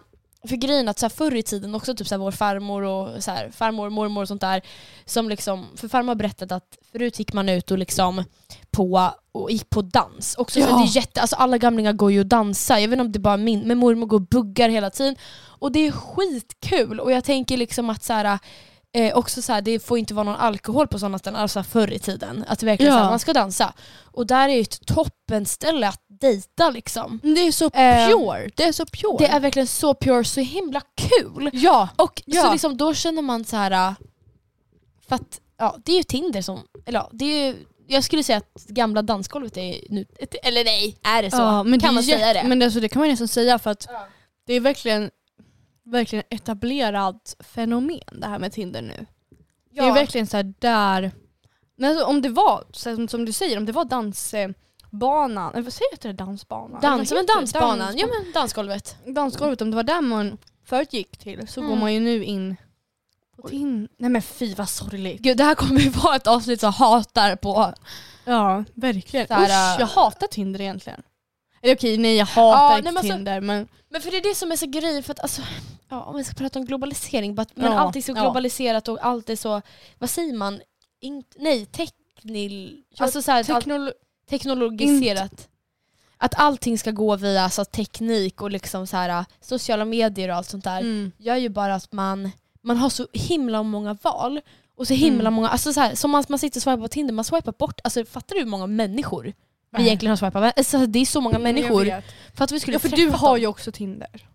Speaker 2: för grejen att så här, förr i tiden också typ så här, vår farmor och så här, farmor mormor och sånt där, som liksom, för farmor har berättat att förut gick man ut och liksom på, och gick på dans. Också, så här,
Speaker 3: Ja.
Speaker 2: det är jätte, alltså, alla gamlingar går ju och dansar, jag vet inte om det är bara min, men mormor går och buggar hela tiden. Och det är skitkul och jag tänker liksom att så här, Eh, också så här, det får inte vara någon alkohol på sådana ställen, alltså förr i tiden. Att det verkligen
Speaker 3: Ja.
Speaker 2: så här, man ska dansa. Och där är ju ett toppenställe att dejta liksom.
Speaker 3: Det är så
Speaker 2: Eh,
Speaker 3: pure. Ehm, Det är så pure.
Speaker 2: Det är verkligen så pure, så himla kul.
Speaker 3: ja.
Speaker 2: Och
Speaker 3: Ja.
Speaker 2: så liksom, då känner man så här äh, för att ja, det är ju Tinder som, eller ja, det är ju, jag skulle säga att gamla dansgolvet är nu, eller nej, är det så?
Speaker 3: ja, men
Speaker 2: kan
Speaker 3: det är
Speaker 2: man
Speaker 3: jätte-
Speaker 2: säga det?
Speaker 3: Men det, alltså, det kan man nästan säga för att det är verkligen, verkligen etablerat fenomen det här med Tinder nu. Det är verkligen så här där, men alltså, om det var, så här, som, som du säger, om det var dansbanan, eller vad säger jag till det? Dansbanan?
Speaker 2: Dans,
Speaker 3: Eller
Speaker 2: men
Speaker 3: vad heter det?
Speaker 2: dansbanan,
Speaker 3: Dans-
Speaker 2: ja men dansgolvet.
Speaker 3: dansgolvet, om det var där man förut gick till så går
Speaker 2: Mm.
Speaker 3: man ju nu in på Tinder. Nej men fy vad sorgligt.
Speaker 2: Gud det här kommer ju vara ett avsnitt som hatar på
Speaker 3: Ja, verkligen.
Speaker 2: Så här,
Speaker 3: Usch,
Speaker 2: äh,
Speaker 3: jag hatar Tinder egentligen. Eller okej, nej jag hatar
Speaker 2: Ja,
Speaker 3: inte
Speaker 2: nej, men alltså-
Speaker 3: Tinder men
Speaker 2: Men för det är det som är så grejen, för att alltså, ja, om vi ska prata om globalisering, bara att, men
Speaker 3: Ja,
Speaker 2: allt är så
Speaker 3: ja.
Speaker 2: globaliserat och allt är så, vad säger man, In, nej teknil, alltså så här, allt-
Speaker 3: teknolo-
Speaker 2: teknologiserat. Att allting ska gå via alltså, teknik och liksom så här, sociala medier och allt sånt där
Speaker 3: mm.
Speaker 2: gör ju bara att man, man har så himla många val. Och så himla
Speaker 3: Mm.
Speaker 2: många, alltså så här, som man, man sitter och swipar på Tinder, man swipar bort, alltså fattar du hur många människor vi
Speaker 3: Nej. Mm,
Speaker 2: egentligen har swipat? Alltså, det är så många människor. För att vi skulle
Speaker 3: Ja för du
Speaker 2: träffa
Speaker 3: har
Speaker 2: dem.
Speaker 3: ju också Tinder.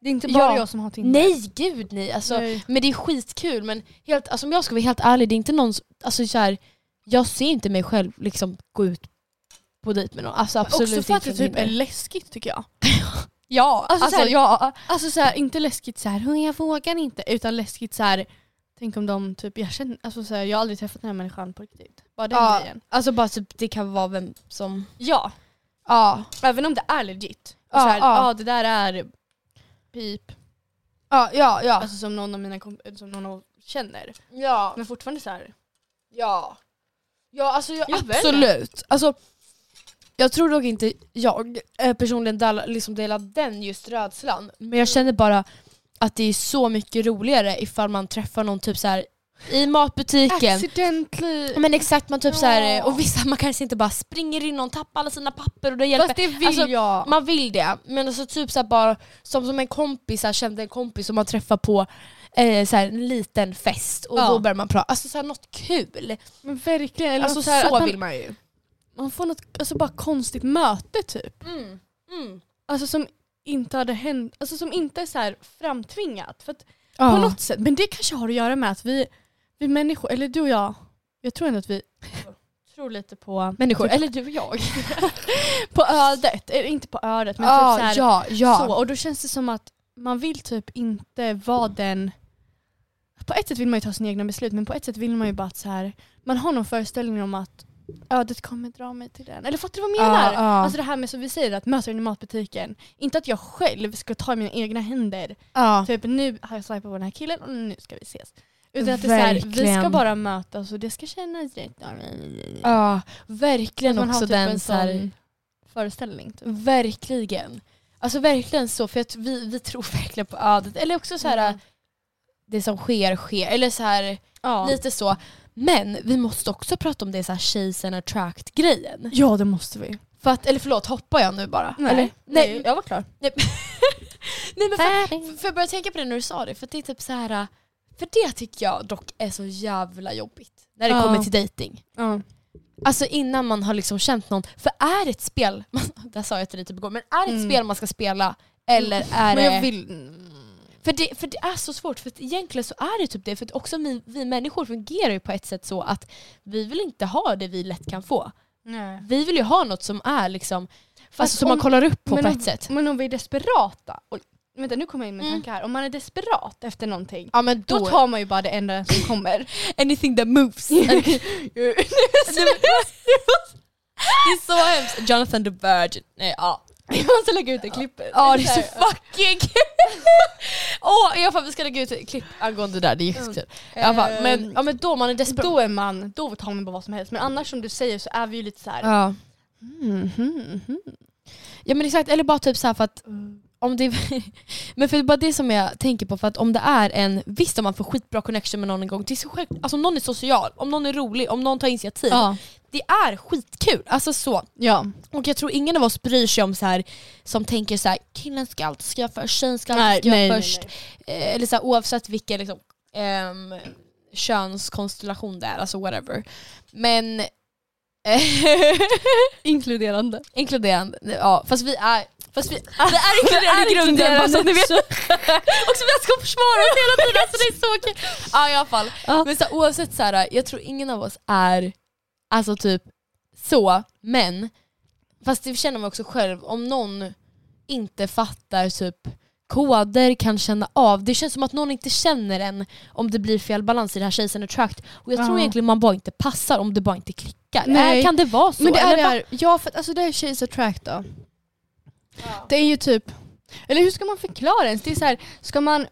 Speaker 3: Det är inte bara
Speaker 2: Ja.
Speaker 3: jag som har Tinder.
Speaker 2: Nej gud nej. Alltså,
Speaker 3: Nej.
Speaker 2: men det är skitkul men helt, alltså, om jag ska vara helt ärlig, det är inte någon, s- alltså, så här, jag ser inte mig själv liksom, gå ut på dejt med någon. Alltså, absolut
Speaker 3: också för att
Speaker 2: inte
Speaker 3: det typ är
Speaker 2: mindre.
Speaker 3: läskigt tycker jag.
Speaker 2: Ja,
Speaker 3: Alltså,
Speaker 2: alltså,
Speaker 3: så här-
Speaker 2: ja.
Speaker 3: Alltså så här, inte läskigt så här, "Hon, jag vågar inte, utan läskigt så här, tänk om de typ, jag känner, alltså så här, jag har aldrig träffat den här människan på riktigt. Bara den
Speaker 2: Ja.
Speaker 3: grejen.
Speaker 2: alltså bara typ, det kan vara vem som...
Speaker 3: Ja,
Speaker 2: Ja.
Speaker 3: även om det är legit. Och
Speaker 2: Ja,
Speaker 3: så här,
Speaker 2: ja.
Speaker 3: ja, det där är pip.
Speaker 2: Ja, ja, ja.
Speaker 3: Alltså som någon av mina komp- som någon av känner.
Speaker 2: Ja,
Speaker 3: Men fortfarande så här.
Speaker 2: ja. Ja, alltså jag,
Speaker 3: Ja, väl.
Speaker 2: absolut. Alltså, jag tror dock inte jag eh, personligen del, liksom delar den just rädslan. Men jag känner bara att det är så mycket roligare ifall man träffar någon typ så här i matbutiken.
Speaker 3: Accidentally.
Speaker 2: Men exakt, man typ så här,
Speaker 3: Ja.
Speaker 2: eh, och vissa man kanske inte bara springer in någon, tappar alla sina papper och det hjälper.
Speaker 3: Fast det vill
Speaker 2: Alltså,
Speaker 3: jag.
Speaker 2: Man vill det, men alltså typ så här bara som, som en kompis, så här, kände en kompis som man träffar på eh, så här, en liten fest och
Speaker 3: Ja.
Speaker 2: då börjar man prata. Alltså så här, något kul.
Speaker 3: Men verkligen. Eller
Speaker 2: alltså,
Speaker 3: något
Speaker 2: så,
Speaker 3: här, att man,
Speaker 2: vill man ju.
Speaker 3: man får något alltså, bara konstigt möte typ.
Speaker 2: Mm. Mm.
Speaker 3: Alltså som inte hade hänt, alltså som inte är så här framtvingat. För att
Speaker 2: Ja.
Speaker 3: På något sätt. Men det kanske har att göra med att vi, vi människor, eller du och jag, jag tror ändå att vi tror lite på
Speaker 2: Människor.
Speaker 3: eller du och jag. på ödet, eller inte på ödet men typ så här,
Speaker 2: ja, ja.
Speaker 3: så. Och då känns det som att man vill typ inte vara den... På ett sätt vill man ju ta sina egna beslut men på ett sätt vill man ju bara att så här, man har någon föreställning om att ödet kommer dra mig till den. Eller fattar du vad jag menar?
Speaker 2: Ja, ja.
Speaker 3: Alltså det här med som vi säger att möta den i matbutiken. Inte att jag själv ska ta i mina egna händer.
Speaker 2: ja.
Speaker 3: Typ nu har jag swipat på den här killen och nu ska vi ses. Utan att det är så här, vi ska
Speaker 2: Verkligen.
Speaker 3: bara mötas och det ska kännas rätt.
Speaker 2: ja. Verkligen
Speaker 3: Att man har
Speaker 2: också
Speaker 3: typ
Speaker 2: den
Speaker 3: en
Speaker 2: så här,
Speaker 3: sån föreställning. Typ.
Speaker 2: Verkligen. Alltså verkligen så, för att vi, vi tror verkligen på ödet. Eller också så här, eh,
Speaker 3: Mm.
Speaker 2: det som sker sker. Eller så här,
Speaker 3: Ja.
Speaker 2: lite så. Men vi måste också prata om det så här chase and attract-grejen.
Speaker 3: ja, det måste vi.
Speaker 2: För att, eller förlåt, hoppar jag nu bara?
Speaker 3: Nej.
Speaker 2: Eller?
Speaker 3: Nej,
Speaker 2: Nej,
Speaker 3: jag var klar.
Speaker 2: nej men för, för jag började tänka på det när du sa det, för att det är typ så här. För det tycker jag dock är så jävla jobbigt. När det
Speaker 3: Ja.
Speaker 2: kommer till dating.
Speaker 3: Ja.
Speaker 2: Alltså innan man har liksom känt någon. För är det ett spel, man, det här sa jag till dig typ igår, men är det ett
Speaker 3: Mm.
Speaker 2: spel man ska spela eller är
Speaker 3: Men
Speaker 2: det...
Speaker 3: jag vill...
Speaker 2: För det, för det är så svårt, för att egentligen så är det typ det. För att också vi, vi människor fungerar ju på ett sätt så att vi vill inte ha det vi lätt kan få.
Speaker 3: Nej.
Speaker 2: Vi vill ju ha något som är liksom,
Speaker 3: Fast
Speaker 2: alltså, som
Speaker 3: om-
Speaker 2: man kollar upp på
Speaker 3: men
Speaker 2: på
Speaker 3: om-
Speaker 2: ett sätt.
Speaker 3: Men om vi är desperata. Och, vänta, nu kommer jag in med en
Speaker 2: Mm.
Speaker 3: tanke här. Om man är desperat efter någonting,
Speaker 2: Ja men
Speaker 3: då tar man ju bara det enda som kommer.
Speaker 2: anything that moves. det är så hemskt. Jonathan the Virgin. Nej, ja.
Speaker 3: jag måste lägga ut det klippet.
Speaker 2: Ja det är så fucking kul! Åh, i alla fall vi ska lägga ut ett klipp angående det där, det är jättekul. I alla fall, men, ja, men då man är desperat.
Speaker 3: Då är man, då tar man bara vad som helst. Men annars som du säger så är vi ju lite så här.
Speaker 2: Ja.
Speaker 3: Mhm, mhm.
Speaker 2: Ja men exakt, eller bara typ så här för att om det Men för det är bara det som jag tänker på, för att om det är en, visst om man får skitbra connection med någon en gång, det är så själv, alltså om någon är social, om någon är rolig, om någon tar initiativ,
Speaker 3: Ja.
Speaker 2: det är skitkul. Alltså så.
Speaker 3: ja.
Speaker 2: Och jag tror ingen av oss bryr sig om så här som tänker så här killen ska alltid ska jag först, tjejen ska alltid ska jag först. Eh, Eller så här, oavsett vilken liksom, ehm, könskonstellation det är, alltså whatever. Men eh,
Speaker 3: Inkluderande.
Speaker 2: Inkluderande, ja fast vi är, fast vi, vi är inkluderande i grunden
Speaker 3: inkluderande
Speaker 2: bara så att ni vet. Och så vi ska försvara oss hela tiden så det är så kul. Ja i alla fall.
Speaker 3: Ja.
Speaker 2: Men så, här, oavsett så här, jag tror ingen av oss är alltså typ så, men fast det känner man också själv, om någon inte fattar typ koder, kan känna av, det känns som att någon inte känner en om det blir fel balans i det här tjejsen attract. Och jag tror
Speaker 3: Ja.
Speaker 2: egentligen man bara inte passar om det bara inte klickar.
Speaker 3: Nej.
Speaker 2: Äh, kan det vara så?
Speaker 3: men det är
Speaker 2: Eller
Speaker 3: det
Speaker 2: bara-
Speaker 3: här, ja för att, alltså det är Chase Attract då. Det är ju typ, eller hur ska man förklara ens? Det är så här, ska man,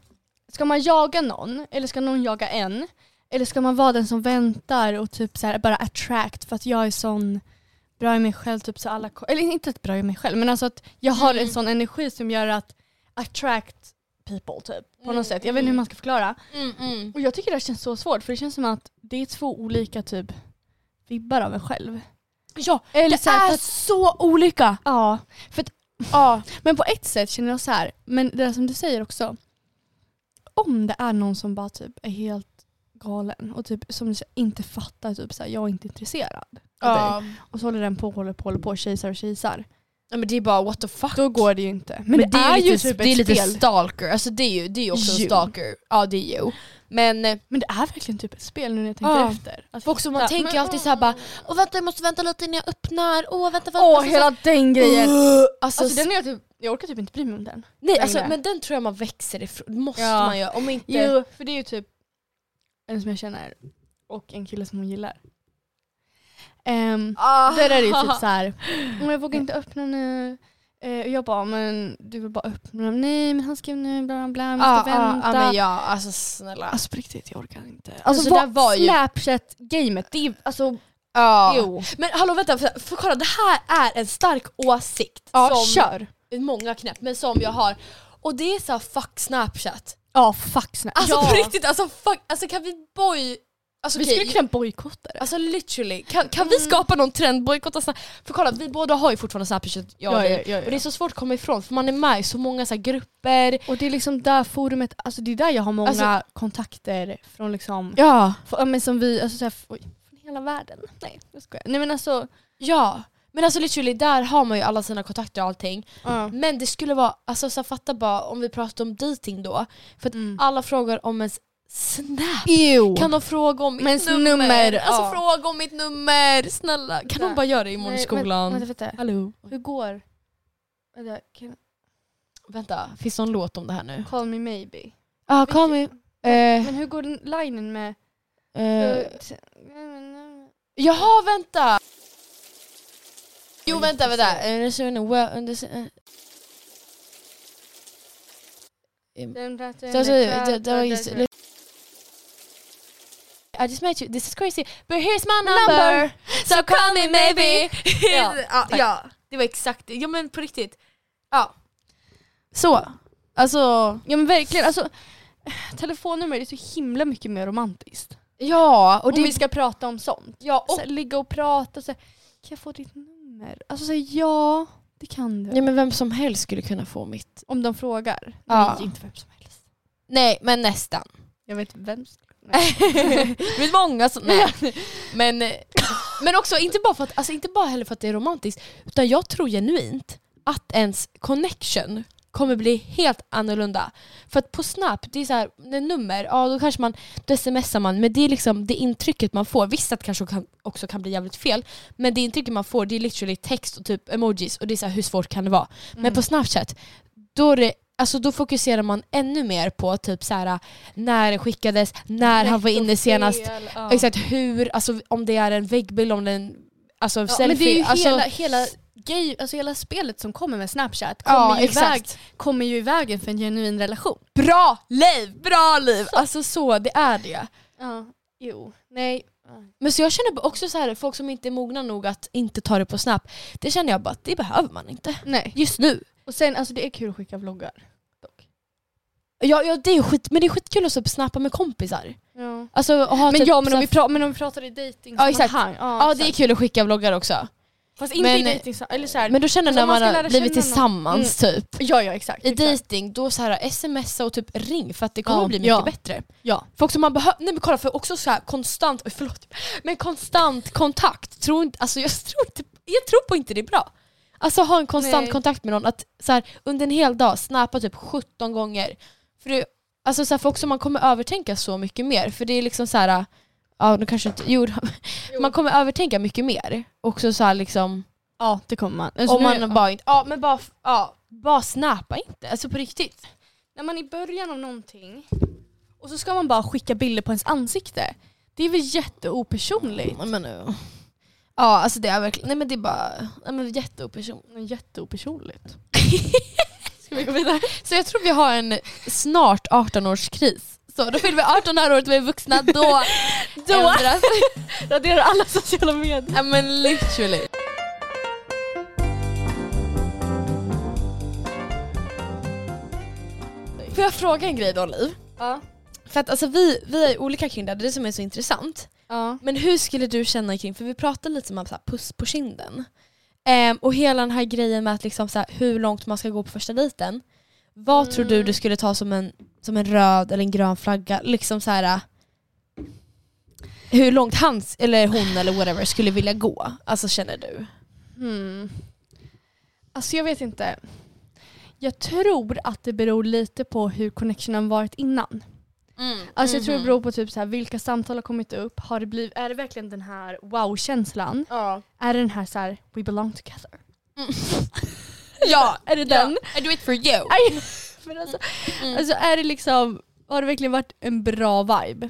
Speaker 3: ska man jaga någon eller ska någon jaga en? Eller ska man vara den som väntar och typ så här, bara attract för att jag är sån bra i mig själv, typ så alla, ko- eller inte att bra i mig själv men alltså att jag har
Speaker 2: Mm.
Speaker 3: en sån energi som gör att attract people typ på något sätt. Jag vet inte hur man ska förklara.
Speaker 2: Mm, mm.
Speaker 3: Och jag tycker det här känns så svårt för det känns som att det är två olika typ vibbar av en själv.
Speaker 2: Ja,
Speaker 3: Eller så här, för att-
Speaker 2: så olika!
Speaker 3: Ja, för att, ja, men på ett sätt känner jag så här, men det där som du säger också. Om det är någon som bara typ är helt galen och typ som du säger, inte fattar typ så här, jag är inte intresserad. av dig.
Speaker 2: Ja.
Speaker 3: Och så håller den på och håller på håller på, kisar och kisar.
Speaker 2: ja men det är bara what the fuck.
Speaker 3: Då går det ju inte. Men, det, är, ju typ
Speaker 2: det är
Speaker 3: ett
Speaker 2: lite
Speaker 3: spel.
Speaker 2: stalker, alltså det är ju, det är ju också en
Speaker 3: Jo.
Speaker 2: stalker. Ja det är ju. Men eh,
Speaker 3: Men det är verkligen typ ett spel nu när jag tänker
Speaker 2: Ja.
Speaker 3: efter. Att
Speaker 2: också man
Speaker 3: hitta-
Speaker 2: tänker
Speaker 3: men-
Speaker 2: alltid såhär bara Åh vänta jag måste vänta lite innan jag öppnar, åh vänta vänta.
Speaker 3: Åh,
Speaker 2: Alltså, så-
Speaker 3: hela den grejen.
Speaker 2: alltså,
Speaker 3: Alltså den är jag typ, jag orkar typ inte bry mig om den.
Speaker 2: nej, alltså,
Speaker 3: längre.
Speaker 2: men den tror jag man växer ifrån, Det måste
Speaker 3: Ja.
Speaker 2: man ju. Om inte...
Speaker 3: Jo, för det är ju typ en som jag känner och en kille som hon gillar. Ehm,
Speaker 2: Ah.
Speaker 3: Där är det ju typ så här. "Åh, jag vågar inte öppna nu. Eh, och jag bara, men du vill bara öppna. Nej men han skrev nu, bla bla bla, jag
Speaker 2: Ja,
Speaker 3: måste
Speaker 2: ja,
Speaker 3: vänta.
Speaker 2: ja Ah, men ja, alltså snälla.
Speaker 3: Alltså på riktigt, jag orkar inte. Alltså,
Speaker 2: Alltså, det
Speaker 3: vad
Speaker 2: där var ju-
Speaker 3: Snapchat-gamet, det är alltså,
Speaker 2: Ja.
Speaker 3: jo.
Speaker 2: Men hallå vänta, för, för kolla det här är en stark åsikt
Speaker 3: Ja,
Speaker 2: som
Speaker 3: kör.
Speaker 2: många knäpp, men som jag har. Och det är såhär fuck snapchat.
Speaker 3: Ja, fuck Snapchat.
Speaker 2: Alltså
Speaker 3: ja.
Speaker 2: på riktigt, alltså, fuck, alltså kan vi boy... Alltså,
Speaker 3: Vi
Speaker 2: okej,
Speaker 3: skulle kunna bojkotta det.
Speaker 2: alltså literally, kan, kan vi skapa någon trend? Bojkotta Snap- För kolla, vi båda har ju fortfarande Snapchat, jag och
Speaker 3: Ja,
Speaker 2: dig.
Speaker 3: ja, ja, ja.
Speaker 2: Och det är så svårt att komma ifrån för man är med i så många så här, grupper.
Speaker 3: Och det är liksom där forumet, alltså det är där jag har många
Speaker 2: Alltså-
Speaker 3: kontakter från liksom
Speaker 2: Ja.
Speaker 3: För, ja, men som vi, alltså såhär, oj, från hela världen. Nej, jag skojar. Nej men alltså.
Speaker 2: Ja. Men alltså literally, där har man ju alla sina kontakter och allting.
Speaker 3: Ja.
Speaker 2: Men det skulle vara, alltså så här, fatta bara om vi pratar om dating då. För att
Speaker 3: Mm.
Speaker 2: alla frågar om ens Snap!
Speaker 3: Ew.
Speaker 2: Ah. Kan de fråga om mitt
Speaker 3: Men
Speaker 2: nummer?
Speaker 3: nummer, ja.
Speaker 2: Alltså fråga om mitt nummer, snälla. Kan de bara göra det imorgon i skolan?
Speaker 3: Vänta, vänta, vänta.
Speaker 2: Hallå?
Speaker 3: Hur går... Vänta, kan...
Speaker 2: Vänta, finns det någon låt om det här nu?
Speaker 3: Call me maybe.
Speaker 2: Ja, ah, kom igen.
Speaker 3: Men hur går den linen med...
Speaker 2: Eh, Jaha, vänta! Jo, vänta, vänta. Eh, det ser nog well- det ser- eh. So, uh, so, the- the- is- li- oh, I just met you, this is crazy, but here's my number,
Speaker 3: Number.
Speaker 2: so call me maybe.
Speaker 3: Ja,
Speaker 2: ja, ja, det var exakt det. Ja men på riktigt. Ja. Så, alltså,
Speaker 3: Ja men verkligen, alltså telefonnummer är så himla mycket mer romantiskt.
Speaker 2: ja.
Speaker 3: Och
Speaker 2: Och det,
Speaker 3: Om vi ska prata om sånt.
Speaker 2: ja,
Speaker 3: Så här, ligga och prata och så här, kan jag få ditt nummer? Alltså så här, ja, det kan du.
Speaker 2: nej, men vem som helst skulle kunna få mitt.
Speaker 3: Om de frågar.
Speaker 2: Ja.
Speaker 3: Nej, inte vem som helst.
Speaker 2: Nej, men nästan.
Speaker 3: Jag vet vem som
Speaker 2: det är många som... Nej. Men, eh, men också, inte bara, för att, alltså, inte bara heller för att det är romantiskt, utan jag tror genuint att ens connection kommer bli helt annorlunda. För att på Snap, det är så här, när nummer, ja då kanske man, då smsar man, men det är liksom det intrycket man får. Visst att det kanske kan, också kan bli jävligt fel, men det intrycket man får det är literally text och typ emojis och det är så här, hur svårt kan det vara? Men på Snapchat, då, är det, alltså, då fokuserar man ännu mer på typ så här, när det skickades, när han var inne senast,
Speaker 3: Ja.
Speaker 2: Exakt hur, alltså om det är en väggbild, om det är en alltså,
Speaker 3: Ja,
Speaker 2: selfie.
Speaker 3: men det är ju
Speaker 2: alltså,
Speaker 3: hela, hela, grej, alltså hela spelet som kommer med Snapchat kommer,
Speaker 2: ja,
Speaker 3: ju i väg,
Speaker 2: exakt.
Speaker 3: kommer ju i vägen för en genuin relation.
Speaker 2: Bra liv! Bra liv! Alltså så, det är det.
Speaker 3: Ja, jo, nej.
Speaker 2: Men så jag känner bara också så här, folk som inte är mogna nog att inte ta det på Snap, det känner jag bara att det behöver man inte.
Speaker 3: Nej.
Speaker 2: Just nu.
Speaker 3: Och sen, alltså det är kul att skicka vloggar. Dock.
Speaker 2: Ja, ja det är skit, men det är skitkul att typ snappa med kompisar.
Speaker 3: Ja.
Speaker 2: Alltså, ha
Speaker 3: Men
Speaker 2: typ,
Speaker 3: ja, men
Speaker 2: så
Speaker 3: om,
Speaker 2: här-
Speaker 3: vi pra- men om vi pratar i dating
Speaker 2: Ja, exakt.
Speaker 3: Ja,
Speaker 2: Ja det är
Speaker 3: exakt.
Speaker 2: kul att skicka vloggar också.
Speaker 3: Fast inte
Speaker 2: men-
Speaker 3: i dating eller så här.
Speaker 2: Men då känner
Speaker 3: Alltså,
Speaker 2: när
Speaker 3: om man
Speaker 2: man,
Speaker 3: ska
Speaker 2: har
Speaker 3: lära
Speaker 2: blivit
Speaker 3: känna någon. Mm.
Speaker 2: tillsammans typ.
Speaker 3: ja, ja exakt.
Speaker 2: I
Speaker 3: exakt.
Speaker 2: dejting, då så här, smsa och typ ring för att det kommer
Speaker 3: Ja,
Speaker 2: bli mycket
Speaker 3: ja.
Speaker 2: bättre.
Speaker 3: Ja.
Speaker 2: Folk som man behöver, nej men kolla för också så här konstant, oj, förlåt, men konstant kontakt, tror inte, alltså jag tror inte, jag tror på inte det är bra. Alltså ha en konstant
Speaker 3: Nej.
Speaker 2: kontakt med någon, att så här, under en hel dag snappa typ 17 gånger. För, det, alltså så här, för också man kommer övertänka så mycket mer, för det är liksom så här, ja nu kanske inte, jo, man kommer övertänka mycket mer. Också så här liksom,
Speaker 3: Ja, det kommer man.
Speaker 2: om man
Speaker 3: Alltså, nu,
Speaker 2: bara inte, ja men bara, ja, bara snappa inte, alltså på riktigt.
Speaker 3: När man är i början av någonting och så ska man bara skicka bilder på ens ansikte. Det är väl jätteopersonligt?
Speaker 2: Men, ja. ja alltså det är verkligen, nej men det är bara, nej men jätteoperson.
Speaker 3: Jätteopersonligt.
Speaker 2: Ska vi gå vidare? Så jag tror vi har en snart 18-årskris. Så då fyller vi 18 här året, vi är vuxna, då ändras
Speaker 3: Raderar alla sociala medier.
Speaker 2: Ja men literally. Får jag fråga en grej då Liv?
Speaker 3: Ja.
Speaker 2: För att alltså, vi, vi är olika kring det, här, det är det som är så intressant.
Speaker 3: Ja.
Speaker 2: Men hur skulle du känna kring, för vi pratade lite om så här, puss på kinden. Ehm, och hela den här grejen med att liksom, så här, hur långt man ska gå på första dejten. Vad tror du du skulle ta som en, som en röd eller en grön flagga? Liksom så här, äh, hur långt hans, eller hon eller whatever skulle vilja gå? Alltså känner du?
Speaker 3: Hmm. Alltså jag vet inte. Jag tror att det beror lite på hur connectionen varit innan.
Speaker 2: Mm,
Speaker 3: Alltså jag
Speaker 2: mm-hmm. Mhm.
Speaker 3: tror det beror på typ så här, vilka samtal har kommit upp. Har det blivit, är det verkligen den här wow-känslan?
Speaker 2: Ja.
Speaker 3: Är det den här så här, we belong together?
Speaker 2: Mm. ja.
Speaker 3: Är det den?
Speaker 2: I do it for you.
Speaker 3: Aj, men alltså,
Speaker 2: Mm.
Speaker 3: alltså är det liksom, har det verkligen varit en bra vibe?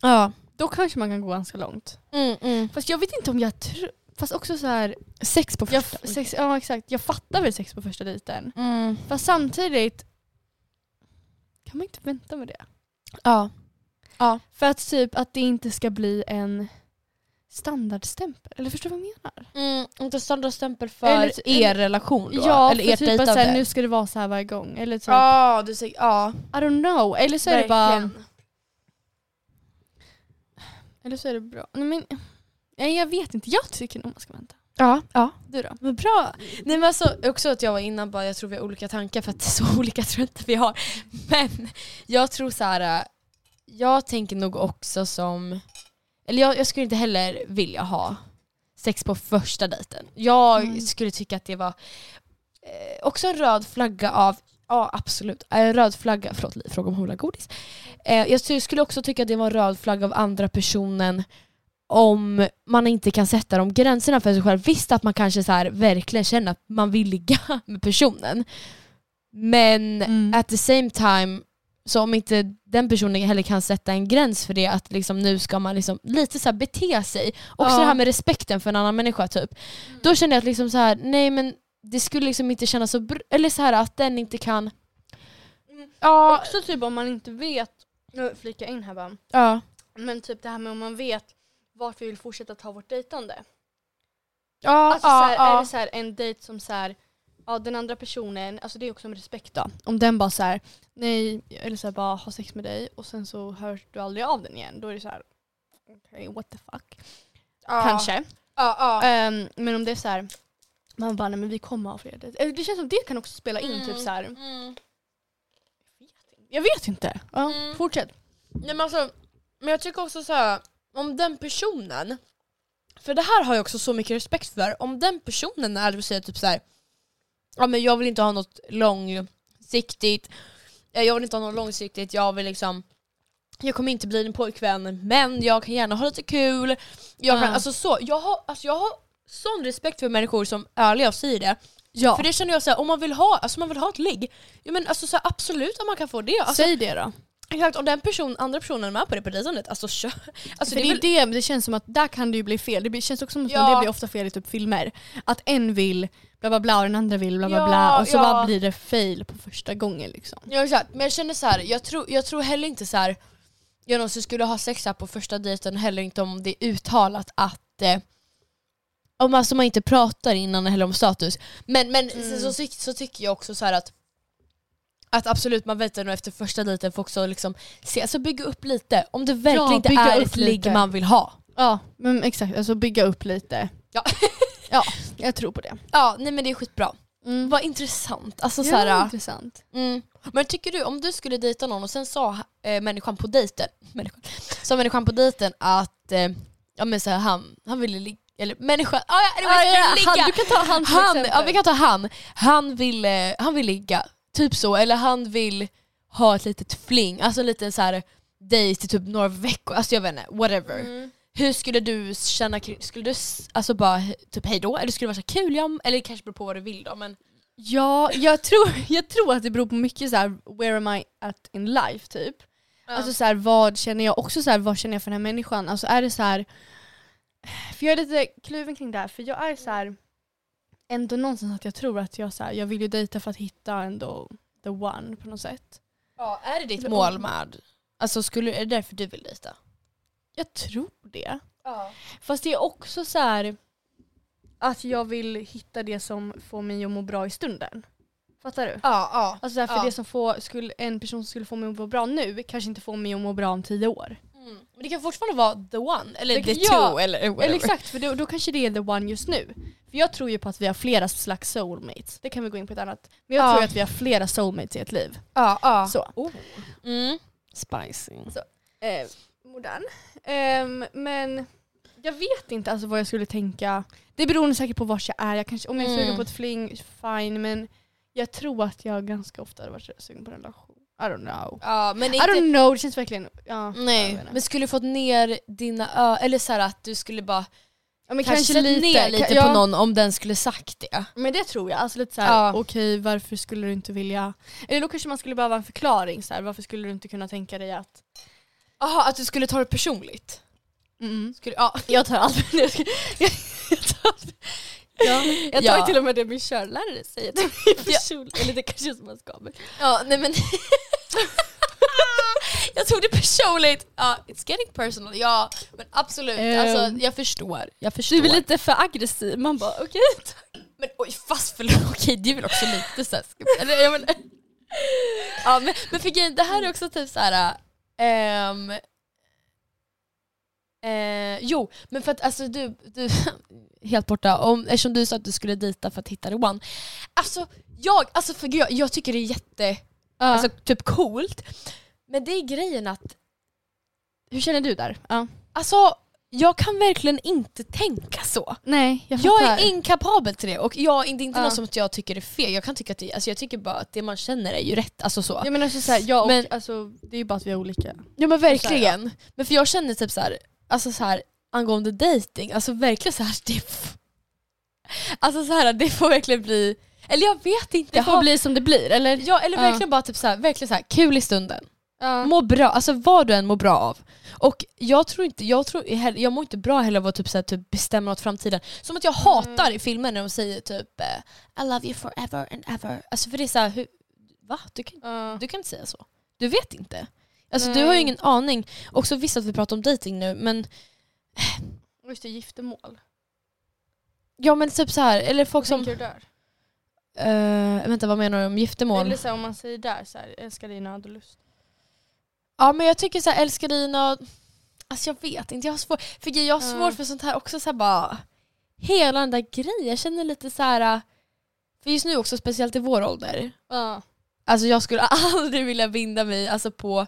Speaker 2: Ja.
Speaker 3: Då kanske man kan gå ganska långt.
Speaker 2: Mm, mm.
Speaker 3: Fast jag vet inte om jag tror, fast också så här,
Speaker 2: Sex på
Speaker 3: jag,
Speaker 2: första.
Speaker 3: f- sex, ja exakt, jag fattar väl sex på första dejten.
Speaker 2: Mm.
Speaker 3: Fast samtidigt kan man inte vänta med det.
Speaker 2: Ja.
Speaker 3: För att typ att det inte ska bli en standardstämpel. Eller förstår du vad jag menar?
Speaker 2: Mm, inte standardstämpel för
Speaker 3: Eller-
Speaker 2: er relation då?
Speaker 3: ja,
Speaker 2: eller
Speaker 3: för
Speaker 2: ert
Speaker 3: typ att så
Speaker 2: dejtande?
Speaker 3: här, nu ska det vara så här varje gång. Eller typ,
Speaker 2: Ja, du säger, ja.
Speaker 3: I don't know. Eller så är det bara...
Speaker 2: Verkligen.
Speaker 3: Eller så är det bra. Nej, men, nej, jag vet inte. Jag tycker nog man ska vänta.
Speaker 2: Ja, ja.
Speaker 3: Du då?
Speaker 2: Men bra. Nej men alltså, också att jag var innan bara, jag tror vi har olika tankar för att så olika tror jag inte vi har. Men jag tror så här. äh, jag tänker nog också som, eller jag, jag skulle inte heller vilja ha sex på första dejten. Jag
Speaker 3: Mm.
Speaker 2: skulle tycka att det var eh, också en röd flagga av, ja
Speaker 5: Ja absolut. Eh, Röd flagga, förlåt Li, fråga om hon vill ha godis. Eh, jag ty- skulle också tycka att det var en röd flagga av andra personen om man inte kan sätta de gränserna för sig själv. Visst att man kanske så här verkligen känner att man vill ligga med personen. Men
Speaker 7: Mm.
Speaker 5: at the same time, så om inte den personen heller kan sätta en gräns för det, att liksom nu ska man liksom lite så här bete sig. Också
Speaker 2: Ja.
Speaker 5: det här med respekten för en annan människa typ. Då känner jag att liksom så här, nej men det skulle liksom inte kännas så br- eller så här att den inte kan...
Speaker 3: Mm.
Speaker 5: Ja,
Speaker 3: Också typ om man inte vet, nu flikar jag in här bara.
Speaker 5: ja.
Speaker 3: Men typ det här med om man vet varför vi vill fortsätta ta vårt dejtande.
Speaker 5: Ja,
Speaker 3: Alltså
Speaker 5: ja,
Speaker 3: så här,
Speaker 5: ja.
Speaker 3: är det så här en dejt som så här, ja den andra personen, alltså det är också en respekt då. Om den bara så här, nej, eller så här bara ha sex med dig och sen så hörs du aldrig av den igen. Då är det så här, okej what the fuck. Kanske.
Speaker 2: Ja, ja.
Speaker 3: Ehm, men om det är så här, man bara nej men vi kommer ha fler dejter. Eller Det känns som det kan också spela in
Speaker 5: Mm.
Speaker 3: typ så här. Jag vet inte. Ja,
Speaker 2: Mm.
Speaker 3: Fortsätt.
Speaker 2: Nej, men, alltså, men jag tycker också så här, om den personen, för det här har jag också så mycket respekt för, om den personen är och säger typ så här, ja men jag vill inte ha något långsiktigt, eh, jag vill inte ha något långsiktigt, jag vill liksom jag kommer inte bli din pojkvän men jag kan gärna ha lite kul. Jag, kan,
Speaker 5: Ja.
Speaker 2: alltså, så, jag, har, alltså, jag har sån respekt för människor som är ärliga och säger det.
Speaker 3: Ja.
Speaker 2: För det känner jag så här, om man vill ha, alltså, man vill ha ett ligg, ja, men, alltså, så här, absolut att man kan få det. Alltså,
Speaker 3: Säg det då.
Speaker 2: Exakt, om den person, andra personen är med på det på dejtandet, alltså kör. Alltså,
Speaker 3: För det,
Speaker 2: det är väl,
Speaker 3: är det, men det känns som att där kan det ju bli fel. Det blir, känns också som att
Speaker 2: Ja.
Speaker 3: det blir ofta fel i typ filmer. Att en vill bla bla bla och den andra vill bla bla
Speaker 2: Ja,
Speaker 3: bla och så
Speaker 2: ja.
Speaker 3: bara blir det fail på första gången liksom.
Speaker 2: ja, exakt. Men jag känner så här, jag tror, jag tror heller inte så här, jag någonsin skulle ha sex här på första dejten, heller inte om det är uttalat att eh, om alltså man inte pratar innan eller om status. Men, men sen så, tyck- så tycker jag också så här att att absolut man väntar nog efter första dejten för också liksom se, alltså bygga upp lite om det verkligen inte
Speaker 3: bygga
Speaker 2: är
Speaker 3: upp
Speaker 2: ett ligg
Speaker 3: lite.
Speaker 2: man vill ha.
Speaker 3: Ja, men exakt. Alltså bygga upp lite.
Speaker 2: Ja.
Speaker 3: ja, jag tror på det.
Speaker 2: Ja, nej men det är skitbra.
Speaker 3: Mm.
Speaker 2: Vad intressant. Alltså,
Speaker 3: Ja,
Speaker 2: så här,
Speaker 3: intressant.
Speaker 2: Mm. Men tycker du, om du skulle dejta någon och sen sa eh, människan på dejten, människan, sa människan på dejten att eh, ja, men så här, han, han ville ligga, eller människan, ah, ja, det var
Speaker 3: Ja, ja,
Speaker 2: ligga.
Speaker 3: han, du kan ta han som
Speaker 2: han, ja,
Speaker 3: exempel.
Speaker 2: vi kan ta han, han vill, eh, han vill ligga, typ så, eller han vill ha ett litet fling, alltså en liten så här dejt i typ några veckor, alltså jag vet inte, whatever. Hur skulle du känna kring, skulle du s- alltså bara he- typ hejdå, eller skulle det vara så här, kul, ja, eller det kanske beror på vad du vill då men
Speaker 3: Ja, jag tror, jag tror att det beror på mycket så här, where am I at in life typ. Alltså så här, vad känner jag också så här, vad känner jag för den här människan? Alltså är det så här för jag är lite kluven kring det här för jag är så här ändå någonstans att jag tror att jag så här, jag vill ju dejta för att hitta ändå the one på något sätt.
Speaker 2: Ja, är det ditt mål med? Alltså skulle, är det därför du vill dejta?
Speaker 3: Jag tror det. Fast det är också så här att jag vill hitta det som får mig att må bra i stunden. Fattar du?
Speaker 2: Ja, ja.
Speaker 3: Alltså därför
Speaker 2: Ja.
Speaker 3: det som får, skulle, en person som skulle få mig att må bra nu kanske inte får mig att må bra om tio år.
Speaker 2: Mm. Men det kan fortfarande vara the one, eller
Speaker 3: Det-
Speaker 2: the
Speaker 3: ja.
Speaker 2: two eller whatever.
Speaker 3: Eller exakt, för då, då kanske det är the one just nu. För jag tror ju på att vi har flera slags soulmates. Det kan vi gå in på ett annat. Men jag
Speaker 2: Ja.
Speaker 3: tror ju att vi har flera soulmates i ett liv.
Speaker 2: Ja, ja.
Speaker 3: Så.
Speaker 2: Mm. Spicy.
Speaker 3: Eh, modern. Ehm, men jag vet inte alltså vad jag skulle tänka. Det beror säkert på vart jag är. Jag kanske, om jag är sugen
Speaker 2: Mm.
Speaker 3: på ett fling, fine. Men jag tror att jag ganska ofta hade varit sugen på en relation. I don't know.
Speaker 2: Ja, men
Speaker 3: I
Speaker 2: inte,
Speaker 3: don't know, det känns verkligen... Ja, jag
Speaker 2: nej.
Speaker 3: vet inte.
Speaker 2: Men skulle du fått ner dina ö, eller så här att du skulle bara
Speaker 3: Ja, men
Speaker 2: kanske, sett ner lite
Speaker 3: ja.
Speaker 2: på någon om den skulle sagt det.
Speaker 3: Men det tror jag. Alltså lite såhär,
Speaker 2: Ja.
Speaker 3: okej varför skulle du inte vilja... Eller då kanske man skulle behöva en förklaring. Såhär, varför skulle du inte kunna tänka dig att...
Speaker 2: Jaha, att du skulle ta det personligt? Skulle, ja.
Speaker 3: Jag tar allt. jag, tar, jag tar
Speaker 2: Ja.
Speaker 3: till och med det min körlärare säger till mig personligt. Eller det kanske är som man ska. Men.
Speaker 2: ja, nej men... jag tog det personligt. Ja, it's getting personal. Ja, men absolut.
Speaker 3: Ehm.
Speaker 2: Alltså, jag förstår. Jag förstår.
Speaker 3: Du är lite för aggressiv. Man bara okej.
Speaker 2: Men oj fast förlåt, okej det är väl också lite såhär, eller jag menar, ja, men, men för grejen, det här är också typ såhär, ehm, eh, jo men för att alltså du, du helt borta, om, eftersom du sa att du skulle dejta för att hitta the one. Alltså jag, alltså för gud, jag, jag tycker det är jätte, alltså typ coolt, men det är grejen att
Speaker 3: Hur känner du där? Ja.
Speaker 2: Alltså, Jag kan verkligen inte tänka så.
Speaker 3: Nej, jag
Speaker 2: Jag
Speaker 3: fattar.
Speaker 2: är inkapabel till det och jag, det är inte
Speaker 3: Ja.
Speaker 2: något som att jag tycker är fel. Jag kan tycka att det, alltså jag tycker bara att det man känner är ju rätt. Alltså så.
Speaker 3: Jag menar så här, jag och,
Speaker 2: Men-
Speaker 3: alltså, det är ju bara att vi är olika.
Speaker 2: Ja men verkligen. Men för jag känner typ så här, alltså så här angående dating, alltså verkligen så här det f- Alltså så här det får verkligen bli eller jag vet inte.
Speaker 3: Det
Speaker 2: jag
Speaker 3: får
Speaker 2: har-
Speaker 3: bli som det blir, eller?
Speaker 2: Ja eller
Speaker 3: Ja.
Speaker 2: verkligen bara typ så här, verkligen så här kul i stunden.
Speaker 3: Ja.
Speaker 2: Må bra, alltså vad du än mår bra av. Och jag tror inte, jag tror heller- jag mår inte bra heller av att typ så här, typ bestämma åt framtiden. Som
Speaker 3: Mm.
Speaker 2: att jag hatar i filmer när de säger typ eh, I love you forever and ever. Alltså för det är så här, hur, va? Du kan
Speaker 3: Ja.
Speaker 2: du kan inte säga så. Du vet inte. Alltså
Speaker 3: Nej.
Speaker 2: du har ju ingen aning. Också visst att vi pratar om dating nu men
Speaker 3: Just det, giftermål.
Speaker 2: ja men typ så här eller folk som...
Speaker 3: Tänker du där?
Speaker 2: eh, vänta vad menar du om giftermål?
Speaker 3: Eller så här, om man säger där, så här, älskar dig i nöd och lust.
Speaker 2: Ja men jag tycker så här älskarina... Alltså jag vet inte, jag har svårt för, grejen, jag har
Speaker 3: Ja.
Speaker 2: svårt för sånt här också så här bara... Hela den där grejen, jag känner lite så här... eh, För just nu också, speciellt i vår ålder.
Speaker 3: Ja.
Speaker 2: Alltså jag skulle aldrig vilja binda mig alltså på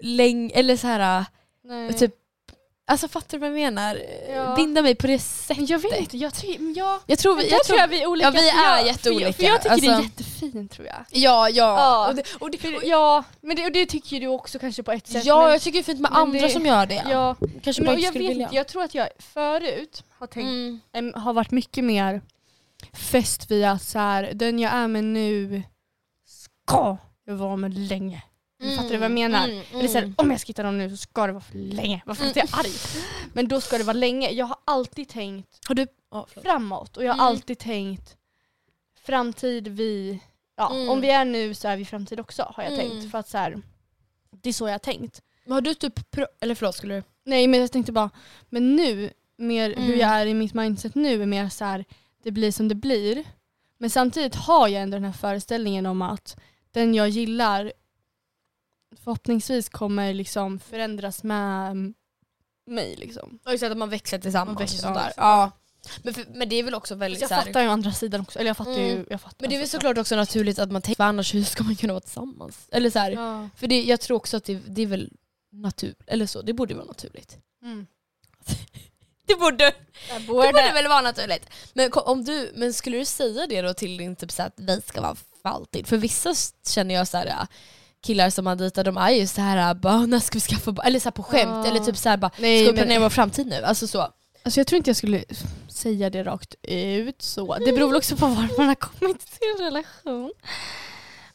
Speaker 2: läng... eller så här... eh,
Speaker 3: Nej.
Speaker 2: Typ, alltså fattar du vad jag menar?
Speaker 3: Mm. Ja.
Speaker 2: Binda mig på det sättet.
Speaker 3: Men jag vet inte, jag tycker... men Jag,
Speaker 2: Jag tror,
Speaker 3: Men
Speaker 2: vi,
Speaker 3: där
Speaker 2: jag tror,
Speaker 3: tror jag vi är olika.
Speaker 2: Ja, vi
Speaker 3: för jag-
Speaker 2: är jätteolika.
Speaker 3: För jag, för jag tycker det är
Speaker 2: Alltså-
Speaker 3: jättefint tror jag.
Speaker 2: Ja, ja.
Speaker 3: Ja.
Speaker 2: Och det, och det,
Speaker 3: För, ja, men det, och det tycker ju du också kanske på ett sätt.
Speaker 2: ja,
Speaker 3: men,
Speaker 2: jag tycker det är fint med
Speaker 3: men
Speaker 2: andra
Speaker 3: det-
Speaker 2: som gör det.
Speaker 3: ja.
Speaker 2: Kanske
Speaker 3: Men,
Speaker 2: bara
Speaker 3: och
Speaker 2: inte
Speaker 3: jag
Speaker 2: skulle
Speaker 3: vet
Speaker 2: vilja.
Speaker 3: inte, jag tror att jag förut har tänkt
Speaker 2: Mm.
Speaker 3: em, har varit mycket mer fäst vid att så här, den jag är med nu ska jag vara med länge. Fattar du vad jag menar?
Speaker 2: Mm, mm.
Speaker 3: Eller så här, om jag ska hitta någon nu så ska det vara för länge. Varför är jag arg? Men då ska det vara länge. Jag har alltid tänkt
Speaker 2: Mm. Har du...
Speaker 3: framåt och jag har
Speaker 2: Mm.
Speaker 3: alltid tänkt framtid vi, ja
Speaker 2: Mm.
Speaker 3: om vi är nu så är vi framtid också har jag
Speaker 2: Mm.
Speaker 3: tänkt. För att så här, det är så jag har tänkt.
Speaker 2: Men har du typ... Pro, eller förlåt, skulle du...
Speaker 3: Nej men jag tänkte bara, men nu, mer hur
Speaker 2: Mm.
Speaker 3: jag är i mitt mindset nu är mer så här, det blir som det blir. Men samtidigt har jag ändå den här föreställningen om att den jag gillar förhoppningsvis kommer liksom förändras med mig. Liksom.
Speaker 2: Ja, just det, att man växer tillsammans
Speaker 3: Man växer,
Speaker 2: och sånt
Speaker 3: ja,
Speaker 2: där.
Speaker 3: exakt.
Speaker 2: Ja. Men, för, men det är väl också väldigt
Speaker 3: Jag
Speaker 2: så här-
Speaker 3: fattar ju å andra sidan också. Eller jag fattar ju.
Speaker 2: Mm.
Speaker 3: Jag fattar
Speaker 2: Men det är väl
Speaker 3: såklart.
Speaker 2: såklart också naturligt att man tänker, för annars hur ska man kunna vara tillsammans? Eller så här,
Speaker 3: Ja.
Speaker 2: För det, jag tror också att det, det är väl naturligt, eller så, det borde vara naturligt.
Speaker 3: Mm.
Speaker 2: Det borde
Speaker 3: Jag
Speaker 2: Det borde väl vara naturligt. Men, ko- om du, men skulle du säga det då till din typ så här, att vi ska vara för alltid? För vissa s- känner jag så här äh, killar som man dejtar, de är ju så här äh, bara, när ska vi skaffa barn? Eller så här på skämt,
Speaker 3: Ja.
Speaker 2: eller typ så här bara,
Speaker 3: Nej,
Speaker 2: ska vi
Speaker 3: men-
Speaker 2: planera vår framtid nu? Alltså så.
Speaker 3: Alltså jag tror inte jag skulle säga det rakt ut så. Det beror väl också på var man har kommit till relation.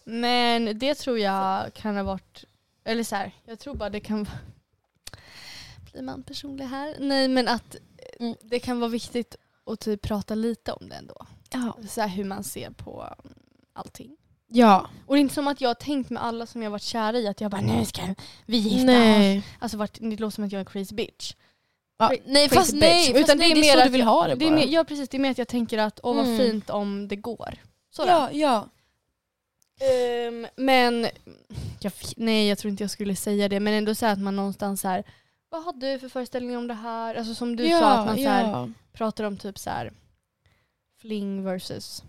Speaker 3: Men det tror jag kan ha varit, eller så här, jag tror bara det kan vara, blir man personlig här? Nej men att
Speaker 2: Mm.
Speaker 3: det kan vara viktigt att typ prata lite om det ändå.
Speaker 2: Ja.
Speaker 3: Så här hur man ser på mm, allting.
Speaker 2: ja.
Speaker 3: Och det är inte som att jag har tänkt med alla som jag har varit kär i att jag bara nu ska vi gifta oss.
Speaker 2: Nej.
Speaker 3: Alltså varit, det låter som att jag är en crazy bitch.
Speaker 2: Ja. Nej fast
Speaker 3: Crazy bitch.
Speaker 2: nej, fast
Speaker 3: Utan
Speaker 2: nej,
Speaker 3: det
Speaker 2: det
Speaker 3: är
Speaker 2: är,
Speaker 3: mer
Speaker 2: så
Speaker 3: att
Speaker 2: du vill ha det,
Speaker 3: Det är
Speaker 2: bara.
Speaker 3: mer, ja precis, det är mer att jag tänker att åh vad
Speaker 2: Mm.
Speaker 3: fint om det går. Så då.
Speaker 2: ja, ja.
Speaker 3: Ehm, men jag, f- nej jag tror inte jag skulle säga det men ändå säga att man någonstans så här vad har du för föreställning om det här? Alltså som du
Speaker 2: ja,
Speaker 3: sa att man så här,
Speaker 2: ja.
Speaker 3: pratar om typ så här fling versus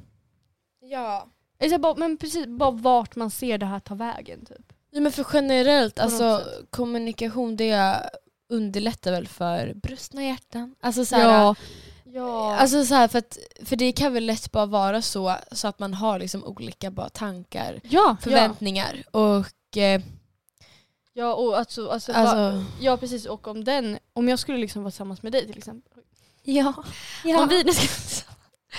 Speaker 2: ja.
Speaker 3: eller så här, bara, men precis, bara vart man ser det här ta vägen typ.
Speaker 2: Nej, men för generellt,
Speaker 3: något
Speaker 2: alltså
Speaker 3: sätt.
Speaker 2: kommunikation det underlättar väl för brustna hjärtan? Alltså så här, äh,
Speaker 3: Ja. ja.
Speaker 2: Alltså så här, för, att, för det kan väl lätt bara vara så, så att man har liksom olika bara tankar,
Speaker 3: ja, ja.
Speaker 2: förväntningar och... Eh,
Speaker 3: ja och alltså, alltså, va,
Speaker 2: alltså
Speaker 3: ja precis och om den, om jag skulle liksom vara tillsammans med dig till exempel.
Speaker 2: ja.
Speaker 3: Om
Speaker 2: Ja.
Speaker 3: vi nu ska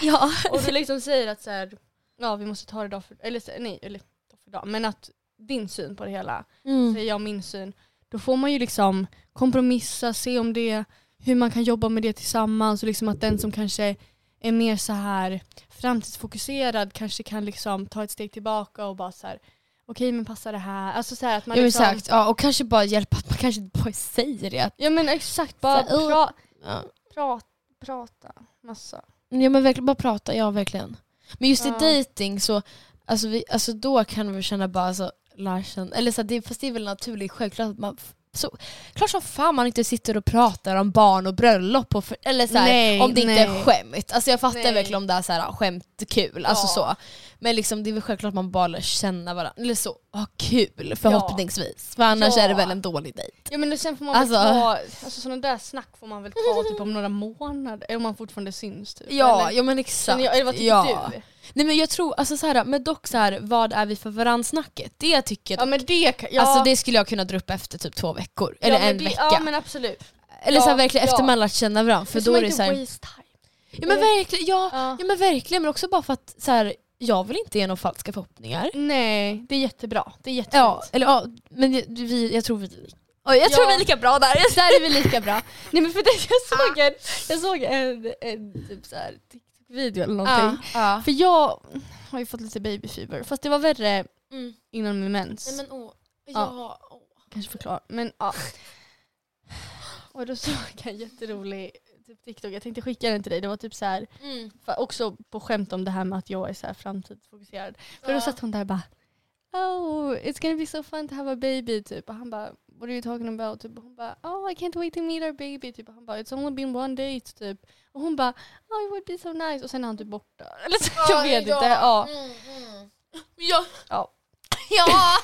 Speaker 2: ja.
Speaker 3: Och du liksom säger att så här, ja vi måste ta det dag för eller så- nej, eller dag för dag, men att din syn på det hela,
Speaker 2: Mm.
Speaker 3: säger jag min syn, då får man ju liksom kompromissa, se om det, hur man kan jobba med det tillsammans och liksom att den som kanske är mer så här framtidsfokuserad kanske kan liksom ta ett steg tillbaka och bara så här okej men passar det här? Alltså så här att man
Speaker 2: Ja, men
Speaker 3: liksom,
Speaker 2: exakt. Ja, och kanske bara hjälpa att man kanske inte bara säger det. Att,
Speaker 3: Ja men exakt, bara
Speaker 2: Så här,
Speaker 3: pra,
Speaker 2: ja.
Speaker 3: pra, prata massa.
Speaker 2: ja men verkligen, bara prata, ja verkligen. Men just
Speaker 3: Ja.
Speaker 2: i dejting så, alltså, vi, alltså då kan vi känna bara alltså, Larsen, eller så här, det, fast det är väl naturligt, självklart att man f- så, klart som fan man inte sitter och pratar om barn och bröllop på, för- eller så här,
Speaker 3: Nej,
Speaker 2: om det inte
Speaker 3: nej.
Speaker 2: är skämt. Alltså jag fattar
Speaker 3: Nej.
Speaker 2: verkligen om det är så här, skämtkul, alltså så. Men liksom, det är väl självklart att man bara lär känna varandra, eller så, ha kul förhoppningsvis. För annars
Speaker 3: Ja.
Speaker 2: är det väl en dålig dejt. typ,
Speaker 3: Ja men sen får man väl
Speaker 2: Alltså.
Speaker 3: ta, alltså sådana där snack får man väl ta typ om några månader, eller om man fortfarande syns typ.
Speaker 2: Ja,
Speaker 3: eller,
Speaker 2: ja men exakt.
Speaker 3: Känner jag- eller vad tycker
Speaker 2: ja.
Speaker 3: du?
Speaker 2: Nej men jag tror, alltså så här, men dock så här, vad är vi för varandra-snacket? Det tycker jag
Speaker 3: Ja men det kan, ja.
Speaker 2: Alltså det skulle jag kunna dra upp efter typ två veckor,
Speaker 3: ja,
Speaker 2: eller
Speaker 3: men
Speaker 2: en
Speaker 3: det,
Speaker 2: vecka.
Speaker 3: Ja men absolut.
Speaker 2: eller så här,
Speaker 3: ja,
Speaker 2: verkligen
Speaker 3: ja.
Speaker 2: efter man lärt känna varandra. För
Speaker 3: Men
Speaker 2: då
Speaker 3: man
Speaker 2: är det
Speaker 3: inte
Speaker 2: så här,
Speaker 3: waste time.
Speaker 2: ja, men verkligen, ja,
Speaker 3: Ja.
Speaker 2: ja men verkligen, men också bara för att så här, jag vill inte ge några falska förhoppningar.
Speaker 3: Nej, det är jättebra. Det är jättefint.
Speaker 2: Ja, eller ja, men jag- vi, jag tror vi... Oj, jag tror
Speaker 3: Ja.
Speaker 2: vi är lika bra där. Ah. Där är vi lika bra.
Speaker 3: Nej men för det, jag såg en, jag såg en, en typ så här TikTok-video eller någonting.
Speaker 2: Ah,
Speaker 3: För jag har ju fått lite babyfeber, fast det var värre
Speaker 2: Mm.
Speaker 3: innan min mens.
Speaker 2: men åh,
Speaker 3: ja, Kanske förklara, men ja. Och då såg jag en jätterolig typ, TikTok, jag tänkte skicka den till dig. Det var typ så här, för också på skämt om det här med att jag är så här framtidsfokuserad. För då satt hon där och bara Oh, it's gonna be so fun to have a baby typ. Och han bara, what are you talking about? Typ. Och hon bara, oh I can't wait to meet our baby. Typ. Och han bara, it's only been one date typ. Och hon bara, oh it would be so nice. Och sen är han typ borta. Eller så, jag vet inte. Ja.
Speaker 2: Mm, Ja.
Speaker 3: Ja.
Speaker 2: ja.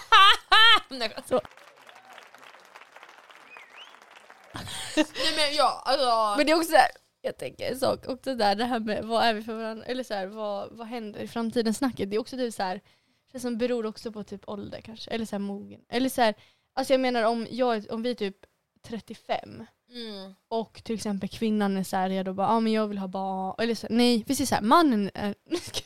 Speaker 2: Nej men ja, alltså.
Speaker 3: Men det är också så här, jag tänker en sak också där det här med vad är vi för varandra, eller så här, vad, vad händer i framtiden snacket. Det är också typ så här, det som beror också på typ ålder kanske, eller så här mogen. Eller så här, alltså jag menar om, jag, är- om vi är typ 35
Speaker 2: mm.
Speaker 3: och till exempel kvinnan är så här redo och bara, ah, men jag vill ha barn. Eller så, nej, vi säger så här, mannen är, nu ska,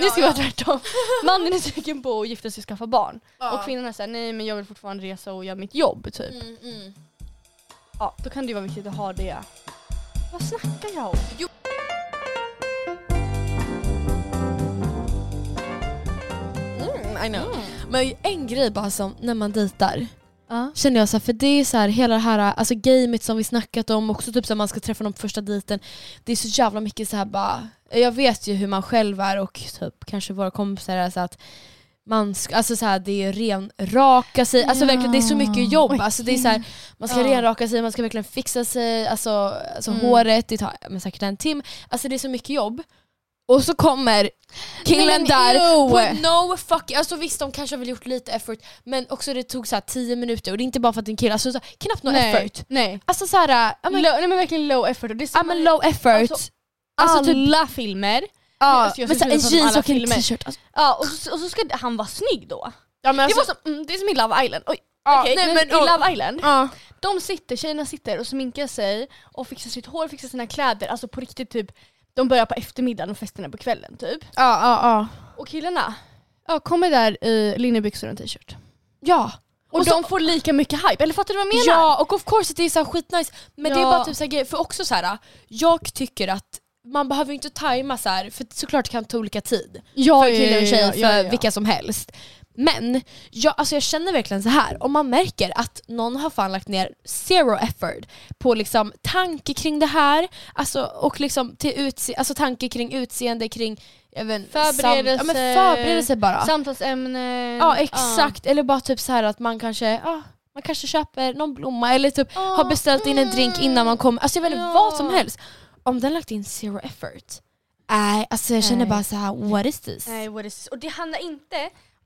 Speaker 3: nu ska vi vara tvärtom. Mannen är sugen på att gifta sig och skaffa barn. Och kvinnan är så här, nej men jag vill fortfarande resa och göra mitt jobb typ.
Speaker 2: Mm.
Speaker 3: Ja, då kan det ju vara viktigt att ha det. Vad snackar jag om?
Speaker 2: Mm, I know.
Speaker 3: Mm.
Speaker 2: Men en grej bara som när man dejtar. Känner jag så här, för det är så här, hela det här alltså gamet som vi snackat om, också typ så här, man ska träffa någon på första dejten. Det är så jävla mycket så här bara, jag vet ju hur man själv är och typ kanske våra kompisar är så att man ska, alltså så här, det är renraka sig, alltså verkligen det är så mycket jobb. Alltså det är så här, man ska
Speaker 3: Ja.
Speaker 2: renraka sig, man ska verkligen fixa sig, alltså, alltså
Speaker 3: Mm.
Speaker 2: håret, det tar men säkert en timme. Alltså det är så mycket jobb. Och så kommer killen
Speaker 3: Nej, men
Speaker 2: där
Speaker 3: ew.
Speaker 2: på no fucking... Alltså visst de kanske har väl gjort lite effort men också det tog så här 10 minuter och det är inte bara för att det är en kille, alltså så här, knappt någon effort.
Speaker 3: Nej.
Speaker 2: Alltså såhär, ja men,
Speaker 3: low, nej men verkligen low effort. Och det är
Speaker 2: ja,
Speaker 3: samma
Speaker 2: men
Speaker 3: i
Speaker 2: low effort.
Speaker 3: Alltså,
Speaker 2: alltså typ-
Speaker 3: alla filmer.
Speaker 2: ja,
Speaker 3: alltså, jag
Speaker 2: men
Speaker 3: skulle
Speaker 2: så här, en
Speaker 3: vilja prata om
Speaker 2: jeans
Speaker 3: alla
Speaker 2: och en
Speaker 3: filmer.
Speaker 2: t-shirt. Alltså,
Speaker 3: Ja, och, så, och så ska han vara snygg då.
Speaker 2: ja, men alltså-
Speaker 3: det, var som, mm, det är som i Love Island. Oj,
Speaker 2: Ja,
Speaker 3: okej,
Speaker 2: nej,
Speaker 3: men,
Speaker 2: men,
Speaker 3: I
Speaker 2: och-
Speaker 3: Love Island,
Speaker 2: ja.
Speaker 3: de sitter, tjejerna sitter och sminkar sig och fixar sitt hår, fixar sina kläder. Alltså på riktigt typ, de börjar på eftermiddagen och festen är på kvällen typ.
Speaker 2: Ja, ja, ja.
Speaker 3: Och killarna, ja, kommer där i linnebyxor och en t-shirt.
Speaker 2: Ja.
Speaker 3: Och, de får lika mycket hype, eller fattar du vad jag menar?
Speaker 2: Ja, och of course att det är så här skitnice. Men det är
Speaker 3: Ja.
Speaker 2: bara typ så här grejer. För också så här, jag tycker att man behöver ju inte tajma så här, för såklart kan det ta olika tid.
Speaker 3: Ja,
Speaker 2: för killar och tjejer,
Speaker 3: Eh, ja, ja,
Speaker 2: för
Speaker 3: ja.
Speaker 2: vilka som helst. Men jag, alltså jag känner verkligen så här. om man märker att någon har fan lagt ner zero effort på liksom tanke kring det här, alltså, och liksom till utse- alltså tanke kring utseende, kring jag vet, inte, sam-
Speaker 3: Förberedelse.
Speaker 2: ja, men förberedelse bara.
Speaker 3: Samtalsämnen.
Speaker 2: Ja exakt, eller bara typ så här att man kanske, ja, man kanske köper någon blomma eller typ
Speaker 3: Ja.
Speaker 2: har beställt in en drink innan man kommer. Alltså jag vet inte, vad som
Speaker 3: Ja.
Speaker 2: helst. Om den lagt in zero effort, nej alltså jag känner
Speaker 3: Nej.
Speaker 2: bara så här: what is this?
Speaker 3: Nej, what is this? Och det handlar inte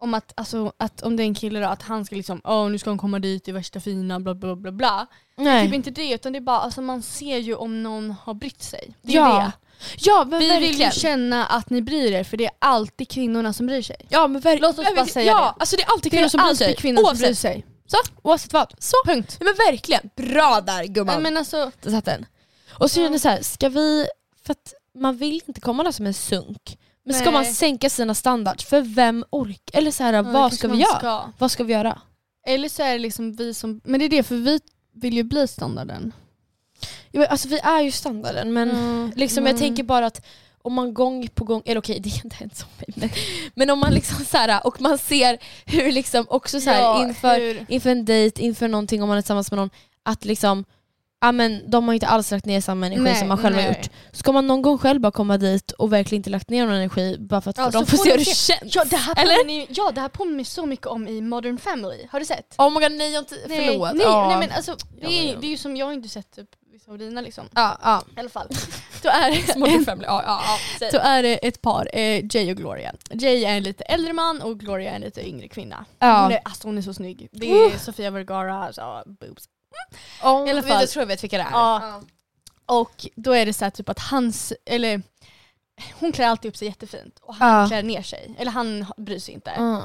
Speaker 3: om att, alltså, att om det är en kille då, att han ska liksom, åh nu ska hon komma dit i värsta fina bla bla bla bla. Typ
Speaker 2: Nej.
Speaker 3: inte det, utan det är bara, alltså man ser ju om någon har brytt sig. Det är
Speaker 2: Ja.
Speaker 3: det.
Speaker 2: ja men
Speaker 3: Vi vill ju
Speaker 2: verkligen.
Speaker 3: känna att ni bryr er, för det är alltid kvinnorna som bryr sig.
Speaker 2: ja, men verkligen.
Speaker 3: Låt oss bara säga
Speaker 2: ja, Alltså det är alltid
Speaker 3: det.
Speaker 2: kvinnor som bryr sig.
Speaker 3: alltid kvinnor som bryr
Speaker 2: oavsett,
Speaker 3: sig.
Speaker 2: så, oavsett vad. Så.
Speaker 3: Punkt.
Speaker 2: Nej, men verkligen, bra där gumman.
Speaker 3: Nej, men alltså,
Speaker 2: Där satt den. Och så känner jag så här, ska vi... För att man vill inte komma där som en sunk. Men ska
Speaker 3: Nej.
Speaker 2: man sänka sina standards? För vem orkar? Eller så här,
Speaker 3: ja,
Speaker 2: vad
Speaker 3: kanske
Speaker 2: ska vi
Speaker 3: man
Speaker 2: göra?
Speaker 3: ska.
Speaker 2: Vad ska vi göra?
Speaker 3: Eller så är det liksom vi som, men det är det för vi vill ju bli standarden.
Speaker 2: Jo, men Alltså vi är ju standarden men
Speaker 3: Mm,
Speaker 2: liksom,
Speaker 3: men-
Speaker 2: jag tänker bara att om man gång på gång, eller okej det är inte hänt som mig, men, men om man liksom så här, och man ser hur liksom också så här,
Speaker 3: Ja,
Speaker 2: inför
Speaker 3: hur-
Speaker 2: inför en dejt, inför någonting om man är tillsammans med någon, att liksom ja, men de har inte alls lagt ner samma energi
Speaker 3: Nej,
Speaker 2: som man själv har
Speaker 3: nej.
Speaker 2: gjort. Ska man någon gång själv bara komma dit och verkligen inte lagt ner någon energi bara för att
Speaker 3: Ja, så
Speaker 2: de får
Speaker 3: får de
Speaker 2: se hur det
Speaker 3: se.
Speaker 2: känns?
Speaker 3: Ja det, här
Speaker 2: Eller?
Speaker 3: påminner, ju- ja det här påminner så mycket om i Modern Family, har du sett?
Speaker 2: Oh my god, nej, jag inte, förlåt.
Speaker 3: Nej,
Speaker 2: ja.
Speaker 3: nej men alltså, det,
Speaker 2: Ja,
Speaker 3: är,
Speaker 2: ja.
Speaker 3: det är ju som jag har inte sett typ vissa av dina liksom.
Speaker 2: ja, ja.
Speaker 3: I alla fall. Då är det
Speaker 2: Modern family, ja, ja, ja.
Speaker 3: Så är det ett par, eh, Jay och Gloria. Jay är en lite äldre man och Gloria är en lite yngre kvinna. Hon, är, alltså, hon är så snygg. Det är Sofia Vergara, alltså, boobs.
Speaker 2: Om,
Speaker 3: I alla fall.
Speaker 2: Jag tror jag vet vilka det är.
Speaker 3: Ja. Och då är det så här typ att hans, eller hon klär alltid upp sig jättefint och han
Speaker 2: Ja.
Speaker 3: klär ner sig. Eller han bryr sig inte.
Speaker 2: Mm.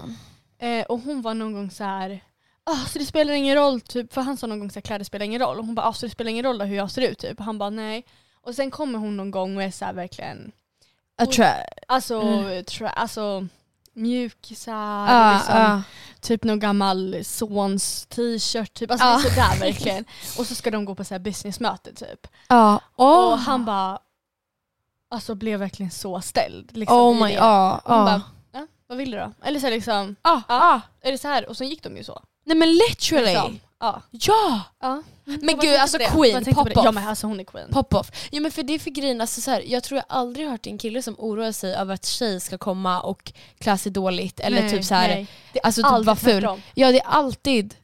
Speaker 3: Eh, och hon var någon gång så här. Ah, så det spelar ingen roll, typ. för han sa någon gång så här, kläder spelar ingen roll. Och hon bara, ah, så det spelar ingen roll då, hur jag ser ut. Typ. Och han bara, nej. Och sen kommer hon någon gång och är så här verkligen,
Speaker 2: Attra-
Speaker 3: alltså,
Speaker 2: Mm. Ah,
Speaker 3: tra- alltså mjukisar,
Speaker 2: Ja,
Speaker 3: liksom,
Speaker 2: ja.
Speaker 3: typ någon gammal sons t-shirt. Typ. Alltså
Speaker 2: Ja.
Speaker 3: det är sådär verkligen. Och så ska de gå på så här businessmöte typ.
Speaker 2: Ja. Ah.
Speaker 3: Och han bara, alltså blev verkligen så ställd. Liksom,
Speaker 2: oh
Speaker 3: i
Speaker 2: my,
Speaker 3: det.
Speaker 2: ja.
Speaker 3: Hon
Speaker 2: ja.
Speaker 3: bara, ja, vad vill du då? Eller så här, liksom,
Speaker 2: Ah, ah.
Speaker 3: är det så här? Och sen gick de ju så.
Speaker 2: Nej men literally!
Speaker 3: Liksom. Ja.
Speaker 2: Ja!
Speaker 3: Ja.
Speaker 2: Men gud alltså queen, pop
Speaker 3: Ja
Speaker 2: off.
Speaker 3: men alltså hon är queen.
Speaker 2: Pop off. Ja men för det är för grejen, alltså så här, jag tror jag aldrig hört en kille som oroar sig över att tjej ska komma och klä sig dåligt eller typ så här,
Speaker 3: Det är
Speaker 2: alltså typ
Speaker 3: alltid
Speaker 2: vara ful.
Speaker 3: tvärtom.
Speaker 2: Ja det är alltid,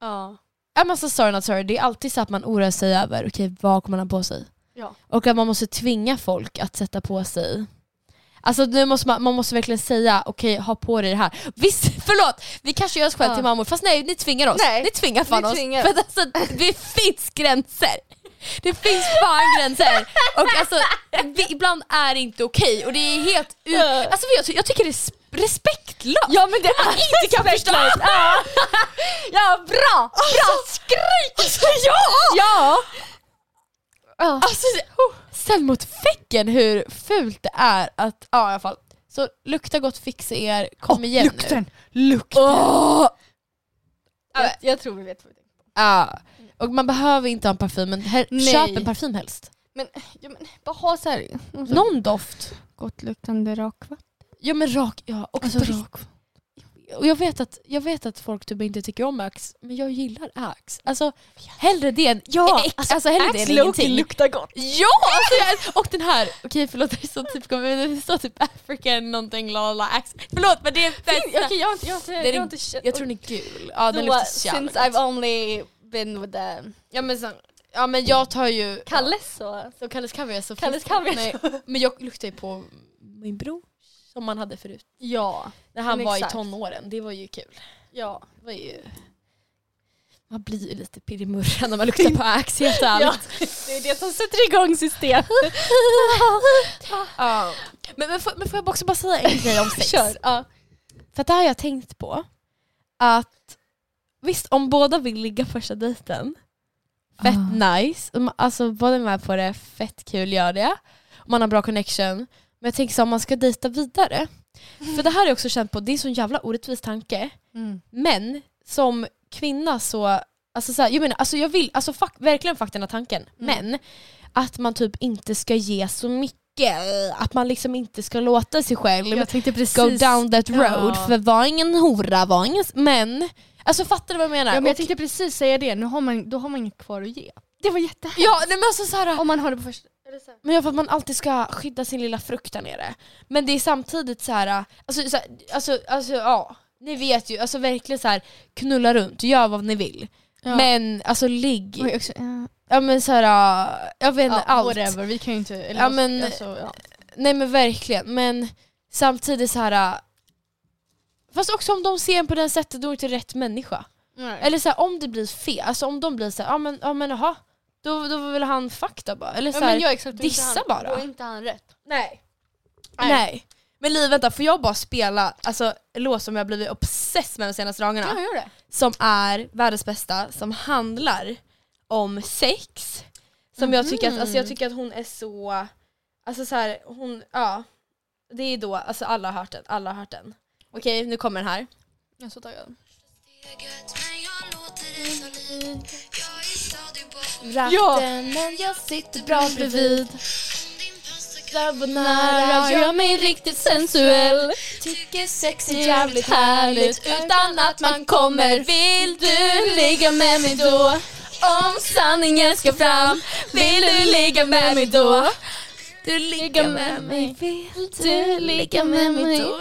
Speaker 3: Ja.
Speaker 2: I'm alltså sorry not sorry, det är alltid så att man oroar sig över okej vad kommer han ha på sig?
Speaker 3: Ja.
Speaker 2: Och att man måste tvinga folk att sätta på sig Alltså nu måste man, man måste verkligen säga okej ha på dig det här. Visst, förlåt! Vi kanske gör oss själva
Speaker 3: Ja.
Speaker 2: till mammor fast nej ni tvingar oss.
Speaker 3: Nej,
Speaker 2: ni tvingar fan
Speaker 3: ni
Speaker 2: oss.
Speaker 3: tvingar
Speaker 2: För att alltså, det finns gränser. Det finns fan gränser. Och alltså vi, ibland är det inte okej och det är helt u- Alltså jag, jag tycker det är s- respektlöst.
Speaker 3: Ja men det är
Speaker 2: inte kan förstå.
Speaker 3: ja, bra!
Speaker 2: Bra skrik! Alltså, ja!
Speaker 3: Ja!
Speaker 2: Alltså, sen mot fäcken hur fult det är att, ja i alla fall. Så lukta gott, fixa er, kom
Speaker 3: Åh,
Speaker 2: igen
Speaker 3: lukten!
Speaker 2: nu. Åh!
Speaker 3: Jag, jag tror vi vet vad det är.
Speaker 2: Ja. Och man behöver inte ha en parfym, men her-
Speaker 3: Nej.
Speaker 2: köp en parfym helst.
Speaker 3: Men, ja, men bara ha så här,
Speaker 2: Någon doft.
Speaker 3: gott luktande rakvatten.
Speaker 2: Ja men rak, ja. Och,
Speaker 3: Alltså,
Speaker 2: doft. och jag, vet att, jag vet att folk typ inte tycker om Axe, men jag gillar Axe. Alltså hellre det än
Speaker 3: Ja,
Speaker 2: äck. Alltså hellre det än ingenting.
Speaker 3: luktar gott.
Speaker 2: Ja! Alltså, jag- och den här, okej förlåt det står typ, det står typ African någonting lala ax. Förlåt men det är bästa.
Speaker 3: Okej jag har inte, jag har inte,
Speaker 2: är
Speaker 3: jag har
Speaker 2: en-
Speaker 3: inte känt...
Speaker 2: Jag tror den är gul. Ja den
Speaker 3: Då,
Speaker 2: luktar så jävla
Speaker 3: since
Speaker 2: gott.
Speaker 3: I've only been with eh, the
Speaker 2: ja, men sen, ja men jag tar ju
Speaker 3: Kalles så.
Speaker 2: så Kalles kaviar så
Speaker 3: Kalles
Speaker 2: finns det-
Speaker 3: kaviar.
Speaker 2: Nej, men jag luktar ju på min bror som man hade förut.
Speaker 3: Ja.
Speaker 2: När han
Speaker 3: Men
Speaker 2: var
Speaker 3: exakt.
Speaker 2: i tonåren, det var ju kul.
Speaker 3: Ja.
Speaker 2: Det var ju... Man blir ju lite pirrig i murran när man luktar på ax helt ärligt.
Speaker 3: Det är det som sätter igång system.
Speaker 2: Ja. Men, men, får, men får jag också bara säga en grej om sex?
Speaker 3: Kör. Ja.
Speaker 2: För att det här har jag tänkt på. Att visst, om båda vill ligga första dejten, fett
Speaker 3: Ah.
Speaker 2: nice. Om- Alltså båda är med på det, fett kul, gör det. Om Man har bra connection. Men jag tänker så här, om man ska dejta vidare. För det här har jag också känt på, det är en sån jävla orättvis tanke.
Speaker 3: Mm.
Speaker 2: Men som kvinna så, alltså så här, jag menar, alltså jag vill alltså fuck, verkligen fuck den här tanken.
Speaker 3: Mm.
Speaker 2: Men att man typ inte ska ge så mycket. Att man liksom inte ska låta sig själv
Speaker 3: Jag tänkte precis...
Speaker 2: go down that road
Speaker 3: Ja.
Speaker 2: för var ingen hora, var ingen... Men, alltså fattar du vad jag menar?
Speaker 3: Ja, men jag
Speaker 2: Och-
Speaker 3: tänkte precis säga det, nu har man, då har man inget kvar att ge. Det var jättehärligt.
Speaker 2: ja nej, men alltså såhär,
Speaker 3: Om man har det på första...
Speaker 2: men jag för att man alltid ska skydda sin lilla frukt där nere. Men det är samtidigt så här, alltså, så här, alltså, alltså ja, ni vet ju, alltså verkligen så här, knulla runt, gör vad ni vill.
Speaker 3: Ja.
Speaker 2: Men alltså ligg,
Speaker 3: Oj, också, ja,
Speaker 2: ja men såhär, jag vet inte,
Speaker 3: ja,
Speaker 2: allt.
Speaker 3: Whatever, vi kan ju inte... Eller,
Speaker 2: Ja, men-
Speaker 3: alltså, ja.
Speaker 2: Nej men verkligen, men samtidigt så här. Fast också om de ser en på det sättet, då är det inte rätt människa.
Speaker 3: Nej.
Speaker 2: Eller så här, om det blir fel, alltså om de blir så här, ja ah, men, ah, men aha, då, då var väl han fakta bara. Eller så
Speaker 3: Ja,
Speaker 2: här,
Speaker 3: men jag, exakt, då är inte
Speaker 2: dissa
Speaker 3: han-
Speaker 2: bara.
Speaker 3: Då är inte han rätt.
Speaker 2: nej. nej. Men Liv vänta, får jag bara spela alltså, en låt som jag blivit obsess med de senaste dagarna?
Speaker 3: Ja, gör det.
Speaker 2: Som är världens bästa, som handlar om sex. Som jag tycker att, alltså, jag tycker att hon är så, alltså så här, hon, ja. Det är då, alltså alla har hört den, alla har hört den. Okej, nu kommer den här.
Speaker 3: Jag är så taggad.
Speaker 2: Ratten, men jag sitter bra bredvid. Carbonara gör mig riktigt sensuell. Tycker sex är jävligt härligt utan att man kommer. Vill du ligga med mig då? Om sanningen ska fram Vill du ligga med mig då? Du ligger med mig, vill du ligga med mig då?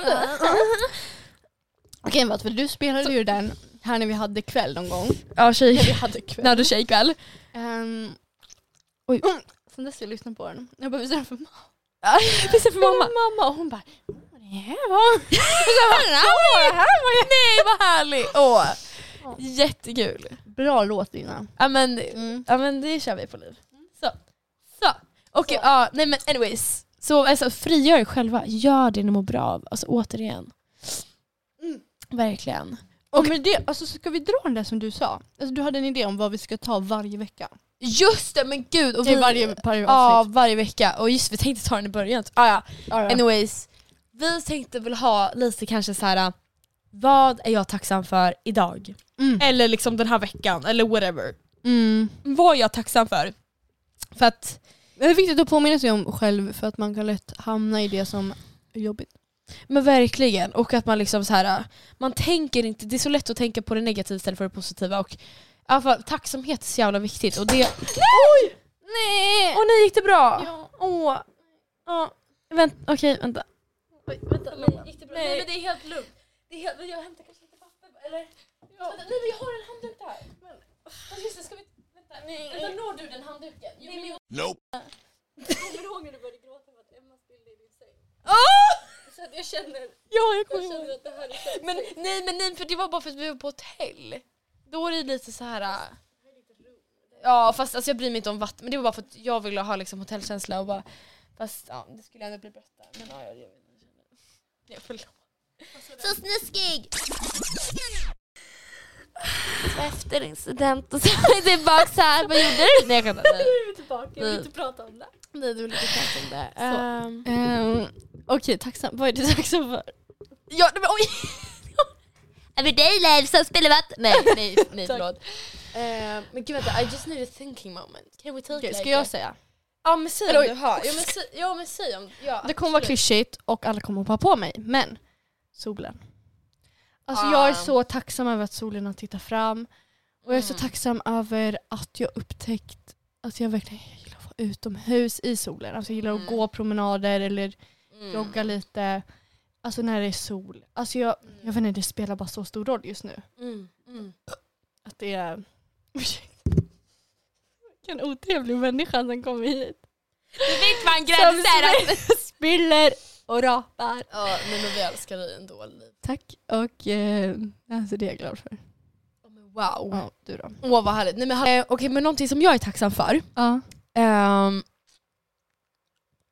Speaker 3: Okej Mats, för du spelade ju den här när vi hade kväll någon gång.
Speaker 2: Ja tjej,
Speaker 3: Vi hade kväll.
Speaker 2: när hade tjejkväll.
Speaker 3: Ehm, oj. Sen dess har jag lyssnat på den. Jag bara, visade den för mamma.
Speaker 2: Finns det för mamma?
Speaker 3: mamma och hon bara, vad är det här va?
Speaker 2: Nej vad härlig! Åh. Jättekul.
Speaker 3: Bra låt Lina.
Speaker 2: Ja men,
Speaker 3: Mm.
Speaker 2: ja men det kör vi på liv. Så. Mm. Så. Okej, ja, nej men anyways. Så alltså, frigör er själva, gör det ni mår bra av. Alltså återigen.
Speaker 3: Mm.
Speaker 2: Verkligen.
Speaker 3: Och med det, alltså ska vi dra den där som du sa? Alltså, du hade en idé om vad vi ska ta varje vecka.
Speaker 2: Just det, men gud! Och
Speaker 3: Till
Speaker 2: vi-
Speaker 3: varje, varje
Speaker 2: Ja,
Speaker 3: avsnitt.
Speaker 2: varje vecka. Och just vi tänkte ta den i början. Ah, ja.
Speaker 3: Ja, ja.
Speaker 2: Anyways, vi tänkte väl ha lite kanske så här. vad är jag tacksam för idag?
Speaker 3: Mm.
Speaker 2: Eller liksom den här veckan, eller whatever.
Speaker 3: Mm.
Speaker 2: Vad är jag tacksam för? För att,
Speaker 3: Men Det är viktigt att påminna sig om själv för att man kan lätt hamna i det som är jobbigt.
Speaker 2: men verkligen, och att man liksom så här, man tänker inte, det är så lätt att tänka på det negativa istället för det positiva. Och i alla fall, tacksamhet är så jävla viktigt. Och det... Nej! Oj!
Speaker 3: Nej!
Speaker 2: Åh nej, gick det bra?
Speaker 3: Ja.
Speaker 2: Åh. Ja. Vänt, okej, vänta.
Speaker 3: Oj, vänta, nej, gick det bra?
Speaker 2: Nej,
Speaker 3: Nej
Speaker 2: men
Speaker 3: men det är helt lugnt. Det är helt, jag hämtar kanske lite papper eller? Vänta, nej men jag har en handduk där. Men, fast just det, ska vi... Vänta, nej. vänta når du den handduken? Jo, men jag
Speaker 7: Nope.
Speaker 3: kommer ihåg när du började gråta för att Emmas bild är i din säng. Så att jag känner,
Speaker 2: Ah! Ja, jag
Speaker 3: jag
Speaker 2: kommer ihåg.
Speaker 3: känner att det här är så.
Speaker 2: Men nej, men nej, för det var bara för att vi var på hotell. Då är det lite så här. äh, Ja, fast alltså, jag bryr mig inte om vatten. Men det var bara för att jag ville ha liksom, hotellkänsla och bara. Fast ja, det skulle ändå bli bättre. Men ja, jag, jag, jag, förlåt.
Speaker 6: Så snuskig! Så efter incidenten så är jag tillbaka så här. Vad gjorde du? Nej jag skämtar. Nej.
Speaker 3: Nu är vi tillbaka, jag vill inte prata om det.
Speaker 6: Nej, du vill inte prata om det.
Speaker 2: Så.
Speaker 6: Eh,
Speaker 3: Um, Okej, tacksam. Vad är du tacksam för?
Speaker 2: Ja, nej, men, oj.
Speaker 6: Över dig live som spelar vatten. Nej, nej, nej
Speaker 2: Tack.
Speaker 6: förlåt.
Speaker 2: Eh, men gud vänta, I just need a thinking moment. Can we take
Speaker 3: Okej,
Speaker 2: like
Speaker 3: ska jag
Speaker 2: a-
Speaker 3: säga?
Speaker 2: Ja men säg
Speaker 3: Eller,
Speaker 2: om
Speaker 3: oj.
Speaker 2: du har. Ja men, säg- ja, men säg om ja,
Speaker 3: Det kommer vara
Speaker 2: absolut.
Speaker 3: klyschigt och alla kommer att hoppa på mig, men solen. Alltså jag är
Speaker 2: Ah.
Speaker 3: så tacksam över att solen har tittat fram. Och jag är så
Speaker 2: Mm.
Speaker 3: tacksam över att jag upptäckt att jag verkligen gillar att vara utomhus i solen. Alltså jag gillar att
Speaker 2: Mm.
Speaker 3: gå promenader eller
Speaker 2: Mm.
Speaker 3: jogga lite. Alltså när det är sol. Alltså jag, jag vet inte, det spelar bara så stor roll just nu.
Speaker 2: Mm. Mm.
Speaker 3: Att det är... Ursäkta. Vilken otrevlig människa som kommer hit.
Speaker 6: Du vet man
Speaker 3: Som
Speaker 6: gränser.
Speaker 3: spiller och rapar.
Speaker 2: Ja men, men vi älskar dig ändå Liv.
Speaker 3: Tack och eh, alltså det är jag glad för.
Speaker 2: Ja, men Wow.
Speaker 3: Ja, du då?
Speaker 2: Åh vad härligt. Nej, men, han- eh, okej, men någonting som jag är tacksam för.
Speaker 3: Ja.
Speaker 2: ehm,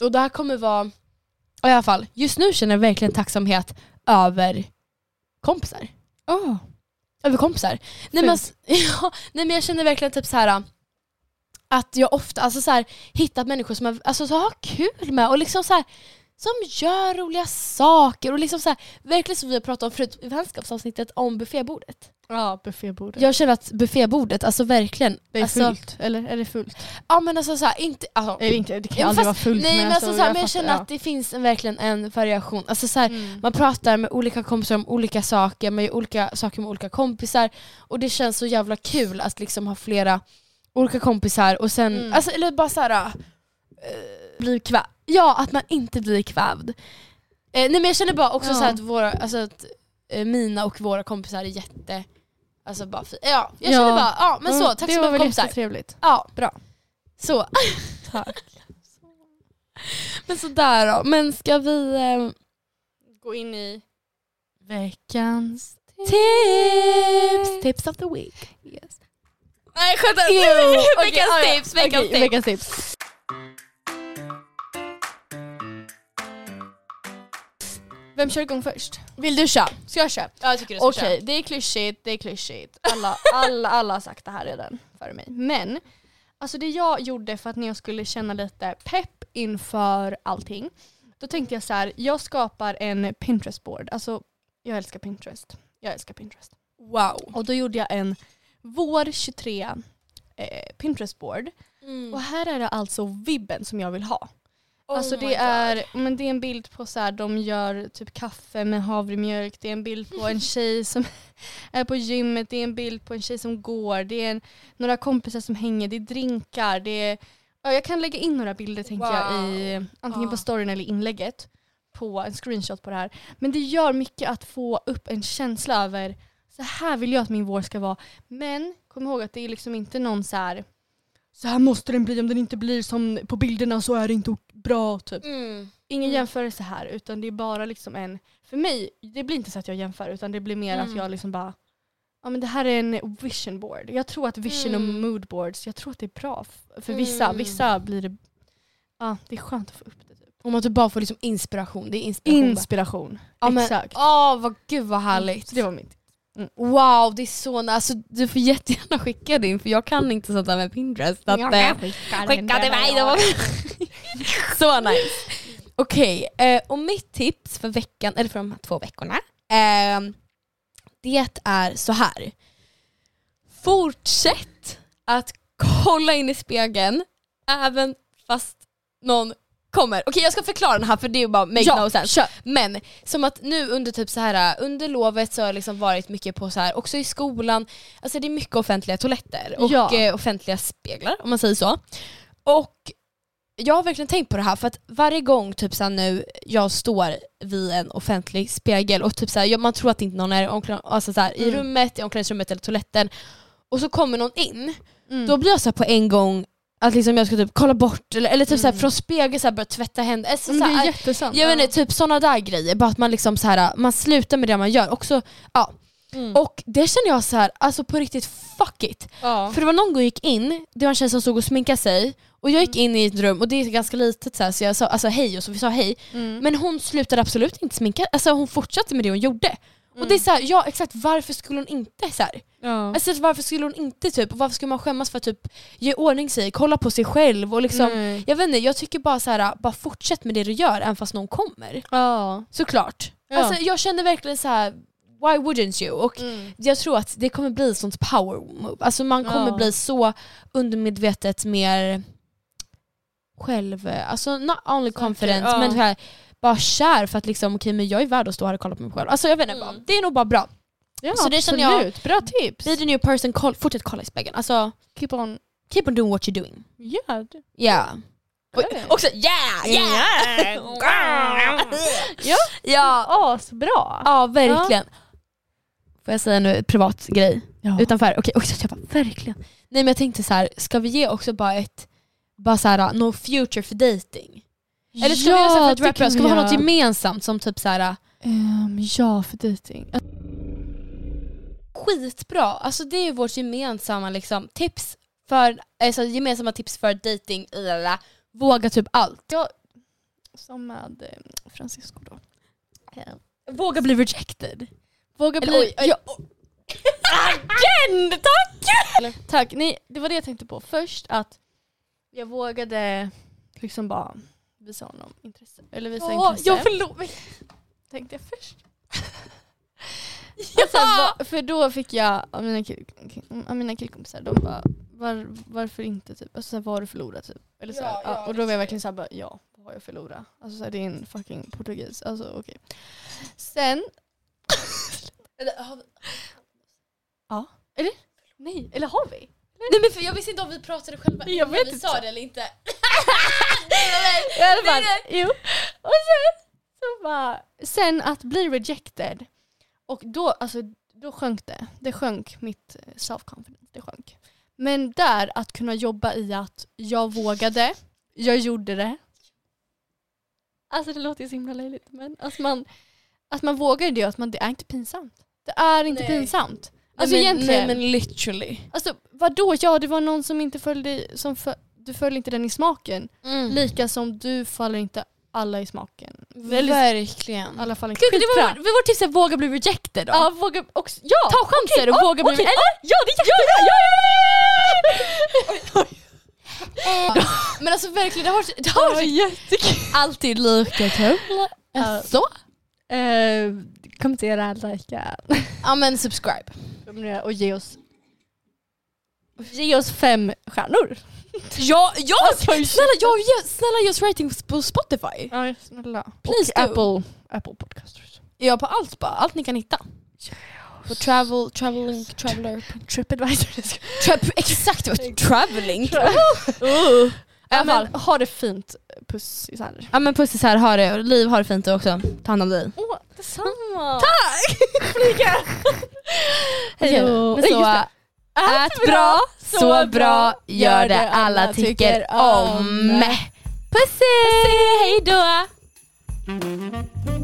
Speaker 2: och det här kommer vara, i alla fall, just nu känner jag verkligen tacksamhet över kompisar.
Speaker 3: Oh.
Speaker 2: Över kompisar. Nej men, alltså- ja, nej men jag känner verkligen typ så här att jag ofta alltså så här, hittat människor som jag alltså, så har kul med och liksom så här, som gör roliga saker och liksom så här, verkligen som vi har pratat om förut i vänskapsavsnittet om buffébordet.
Speaker 3: Ja, buffébordet.
Speaker 2: Jag känner att buffébordet, alltså verkligen.
Speaker 3: det är
Speaker 2: alltså,
Speaker 3: fullt, eller? Är det fullt?
Speaker 2: Ja men alltså såhär, inte... Alltså,
Speaker 3: Eller inte, det kan
Speaker 2: Ja, men
Speaker 3: aldrig
Speaker 2: fast-
Speaker 3: vara fullt.
Speaker 2: nej men, alltså, såhär, men jag
Speaker 3: fattar,
Speaker 2: känner
Speaker 3: ja.
Speaker 2: att det finns en, verkligen en variation. Alltså, såhär,
Speaker 3: Mm.
Speaker 2: Man pratar med olika kompisar om olika saker, med olika saker med olika kompisar. Och det känns så jävla kul att liksom ha flera olika kompisar och sen,
Speaker 3: Mm.
Speaker 2: alltså, eller bara såhär... Uh, bli kväv. Ja, att man inte blir kvävd. Eh, nej men jag känner bara också
Speaker 3: Ja.
Speaker 2: såhär att, våra, alltså, att eh, mina och våra kompisar är jätte... Alltså bara, fi- ja, jag
Speaker 3: Ja.
Speaker 2: känner bara, ja men så,
Speaker 3: Mm,
Speaker 2: tack
Speaker 3: det
Speaker 2: så
Speaker 3: var
Speaker 2: mycket
Speaker 3: väl
Speaker 2: kompisar.
Speaker 3: jättetrevligt.
Speaker 2: Ja, bra. Så.
Speaker 3: Tack.
Speaker 2: Men sådär då. Men ska vi... Eh,
Speaker 3: Gå in i veckans...
Speaker 2: tips! Tips of the week. Nej skämtar! Veckans tips! Veckans
Speaker 3: Okej,
Speaker 2: tips!
Speaker 3: veckans tips. Vem kör igång först?
Speaker 2: Vill du köra?
Speaker 3: Ska jag köra?
Speaker 2: Ja jag tycker du ska
Speaker 3: Okej, det är klyschigt, det är klyschigt. Alla, alla, alla har sagt det här redan före mig. Men, alltså det jag gjorde för att när jag skulle känna lite pepp inför allting, då tänkte jag så här, jag skapar en Pinterest-board. Alltså, jag älskar Pinterest. Jag älskar Pinterest.
Speaker 2: Wow.
Speaker 3: Och då gjorde jag en vår 23
Speaker 2: Mm.
Speaker 3: eh, Pinterest-board. Och här är det alltså vibben som jag vill ha.
Speaker 2: Oh
Speaker 3: alltså det är, men det är en bild på så här, de gör typ kaffe med havremjölk, det är en bild på en tjej som är på gymmet, det är en bild på en tjej som går, det är en, några kompisar som hänger, det är drinkar, det är, ja, jag kan lägga in några bilder tänker jag i eh, antingen på
Speaker 8: Wow.
Speaker 3: storyn eller inlägget på en screenshot på det här. Men det gör mycket att få upp en känsla över så här vill jag att min vår ska vara. Men kom ihåg att det är liksom inte någon så här så här måste den bli om den inte blir som på bilderna så är det inte ok- bra typ.
Speaker 2: Mm.
Speaker 3: Ingen
Speaker 8: Mm.
Speaker 3: jämförelse här utan det är bara liksom en, för mig det blir inte så att jag jämför utan det blir mer att
Speaker 8: Mm.
Speaker 3: jag liksom bara Ja men det här är en vision board. Jag tror att vision och
Speaker 8: Mm.
Speaker 3: mood boards, jag tror att det är bra f- för vissa.
Speaker 8: Mm.
Speaker 3: Vissa blir det, ja det är skönt att få upp det. Typ.
Speaker 8: Om man typ bara får liksom inspiration. Det är inspiration. bara.
Speaker 3: Inspiration.
Speaker 8: Ja, men-
Speaker 3: Exakt.
Speaker 8: Åh, vad, gud vad härligt.
Speaker 3: Så det var mitt.
Speaker 2: Mm. Wow, det är så nice. Alltså, du får jättegärna skicka din för jag kan inte sånt där med Pinterest. Att, eh, skicka till mig då. så nice. Okej, eh, och mitt tips för veckan, eller för de här två veckorna, ehm, det är så här. Fortsätt att kolla in i spegeln även fast någon kommer. Okej jag ska förklara den här för det är ju bara make
Speaker 3: Ja,
Speaker 2: no sense. Men som att nu under typ så här under lovet så har jag liksom varit mycket på så här också i skolan, alltså det är mycket offentliga toaletter och
Speaker 3: Ja.
Speaker 2: eh, offentliga speglar om man säger så. Och jag har verkligen tänkt på det här för att varje gång typ så här, nu jag står vid en offentlig spegel och typ så här, ja, man tror att inte någon är i omkläd- alltså så här, i
Speaker 3: Mm.
Speaker 2: rummet, i omklädningsrummet eller toaletten och så kommer någon in,
Speaker 3: Mm.
Speaker 2: då blir jag så här på en gång att liksom jag ska typ kolla bort eller, eller typ så här, från spegeln så här, börja tvätta händerna. Alltså,
Speaker 3: Mm. Men
Speaker 2: så
Speaker 3: Mm, det är
Speaker 2: här,
Speaker 3: jättesant.
Speaker 2: jag vet inte, typ sådana där grejer. Bara att man liksom så här, man slutar med det man gör. Också, ja.
Speaker 3: Mm.
Speaker 2: Och det känner jag så här, alltså på riktigt fuck it.
Speaker 3: Ja.
Speaker 2: För det var någon gång jag gick in, det var en tjej som stod och sminkade sig och jag
Speaker 3: Mm.
Speaker 2: gick in i ett rum och det är ganska litet så, här, så jag sa alltså hej och så vi sa hej.
Speaker 3: Mm.
Speaker 2: Men hon slutade absolut inte sminka, alltså hon fortsatte med det hon gjorde.
Speaker 3: Mm.
Speaker 2: Och det är så här, ja exakt varför skulle hon inte så här?
Speaker 3: Ja.
Speaker 2: Alltså varför skulle hon inte typ, och varför skulle man skämmas för att typ ge ordning sig, kolla på sig själv och liksom
Speaker 3: Nej.
Speaker 2: jag vet inte, jag tycker bara så här, bara fortsätt med det du gör även fast någon kommer.
Speaker 3: ja.
Speaker 2: Såklart.
Speaker 3: Ja. Mm.
Speaker 2: Alltså, jag känner verkligen så här. why wouldn't you? Och jag tror att det kommer bli ett sånt power move. Alltså man kommer
Speaker 3: Ja.
Speaker 2: bli så undermedvetet mer själv, alltså not only confident
Speaker 3: ja.
Speaker 2: men så här, bara kär för att liksom okej men jag är värd att stå här och kolla på mig själv. Alltså jag vet inte,
Speaker 3: Mm.
Speaker 2: bara, det är nog bara bra.
Speaker 3: Ja,
Speaker 2: Så det känner jag-
Speaker 3: absolut. Bra tips.
Speaker 2: Be the new person, koll, fortsätt kolla i spegeln. Alltså
Speaker 3: Keep on.
Speaker 2: keep on doing what you're doing.
Speaker 3: Yeah.
Speaker 2: Yeah.
Speaker 3: Oj,
Speaker 2: Också yeah! Yeah! ja,
Speaker 3: Asbra.
Speaker 2: Ja, verkligen. Får jag säga nu ett privat grej?
Speaker 3: Ja.
Speaker 2: Utanför? Okej, också jag bara verkligen. Nej men jag tänkte så här, ska vi ge också bara ett, bara så här, uh, no future för dating? Eller ska vi göra så här för att
Speaker 3: det
Speaker 2: wrap it up?
Speaker 3: kan
Speaker 2: Ska vi ha något
Speaker 3: göra.
Speaker 2: gemensamt som typ så här
Speaker 3: Ehm, ja, för dejting.
Speaker 2: skitbra? Alltså det är ju vårt gemensamma liksom, tips för, alltså gemensamma tips för dating, lalala. våga typ allt.
Speaker 3: Som med eh, Francisco då.
Speaker 2: Ehm, Våga bli rejected.
Speaker 3: Våga
Speaker 2: Eller,
Speaker 3: bli...
Speaker 2: oj, oj. Again! Tack!
Speaker 3: Tack. Nej, det var det jag tänkte på. Först att jag vågade liksom bara visa honom intresse. Eller visa intresse.
Speaker 2: jag förlåt mig.
Speaker 3: tänkte jag först.
Speaker 2: Ja!
Speaker 3: Och sen va- för då fick jag av mina, kill, av mina killkompisar, de bara var, varför inte typ, alltså, så här, vad har du förlorat typ? Eller, så här, ja, och då var jag verkligen såhär, ja vad har jag förlorat? Alltså så här, det är en fucking portugis, alltså okej. Sen, ja, eller? Nej, eller har vi?
Speaker 2: Nej men för jag visste inte om vi pratade själva
Speaker 3: Jag
Speaker 2: innan
Speaker 3: vet
Speaker 2: vi
Speaker 3: inte.
Speaker 2: sa det eller inte.
Speaker 3: I alla fall, jo. Och sen, så bara, sen att bli rejected, och då, alltså, då sjönk det. Det sjönk mitt eh, self-confidence. Det sjönk. Men där att kunna jobba i att jag vågade, jag gjorde det. Alltså det låter ju så himla löjligt men att man, att man vågar det och att man, det är inte pinsamt. Det är inte
Speaker 2: Nej.
Speaker 3: pinsamt. Alltså egentligen.
Speaker 2: literally.
Speaker 3: Alltså vadå, ja det var någon som inte följde, som fö- du följde inte den i smaken.
Speaker 2: Mm.
Speaker 3: Lika som du faller inte alla i smaken. Eller,
Speaker 2: Verkligen.
Speaker 3: alla faller inte.
Speaker 2: Gud, det var,
Speaker 3: Skitbra.
Speaker 2: vår- vårt tips är våga bli rejected då.
Speaker 3: Ja, våga också, ja!
Speaker 2: Ta chanser och våga bli
Speaker 3: okej,
Speaker 2: eller?
Speaker 3: Ja, det är jättebra! Ja,
Speaker 2: Men alltså verkligen, det har, det har
Speaker 3: jättekul!
Speaker 2: alltid lika kul.
Speaker 3: Ja.
Speaker 2: Så, Eh,
Speaker 3: kommentera, likea
Speaker 2: ja men subscribe.
Speaker 3: och ge oss Ge oss fem stjärnor.
Speaker 2: Ja, ja snälla, Alltså, jag, ge- snälla ge oss rating på Spotify.
Speaker 3: Ja, snälla.
Speaker 2: Please
Speaker 3: Och
Speaker 2: do.
Speaker 3: Apple, Apple Podcasters.
Speaker 2: Ja, på allt bara. Allt ni kan hitta. På travel, traveling, traveler.
Speaker 3: Tripadvisor.
Speaker 2: Tra- exakt Uh. vad traveling. I
Speaker 3: Ja,
Speaker 2: alla fall.
Speaker 3: men, ha det fint. Puss Isander.
Speaker 2: Ja men puss isär, ha det. Liv, ha det fint du också. Ta hand om dig.
Speaker 3: Åh, detsamma.
Speaker 2: Tack! Flyga! Hej då.
Speaker 3: Nej, just
Speaker 2: Så,
Speaker 3: det.
Speaker 2: ät bra, så bra, gör det alla tycker om. Puss! Hej då!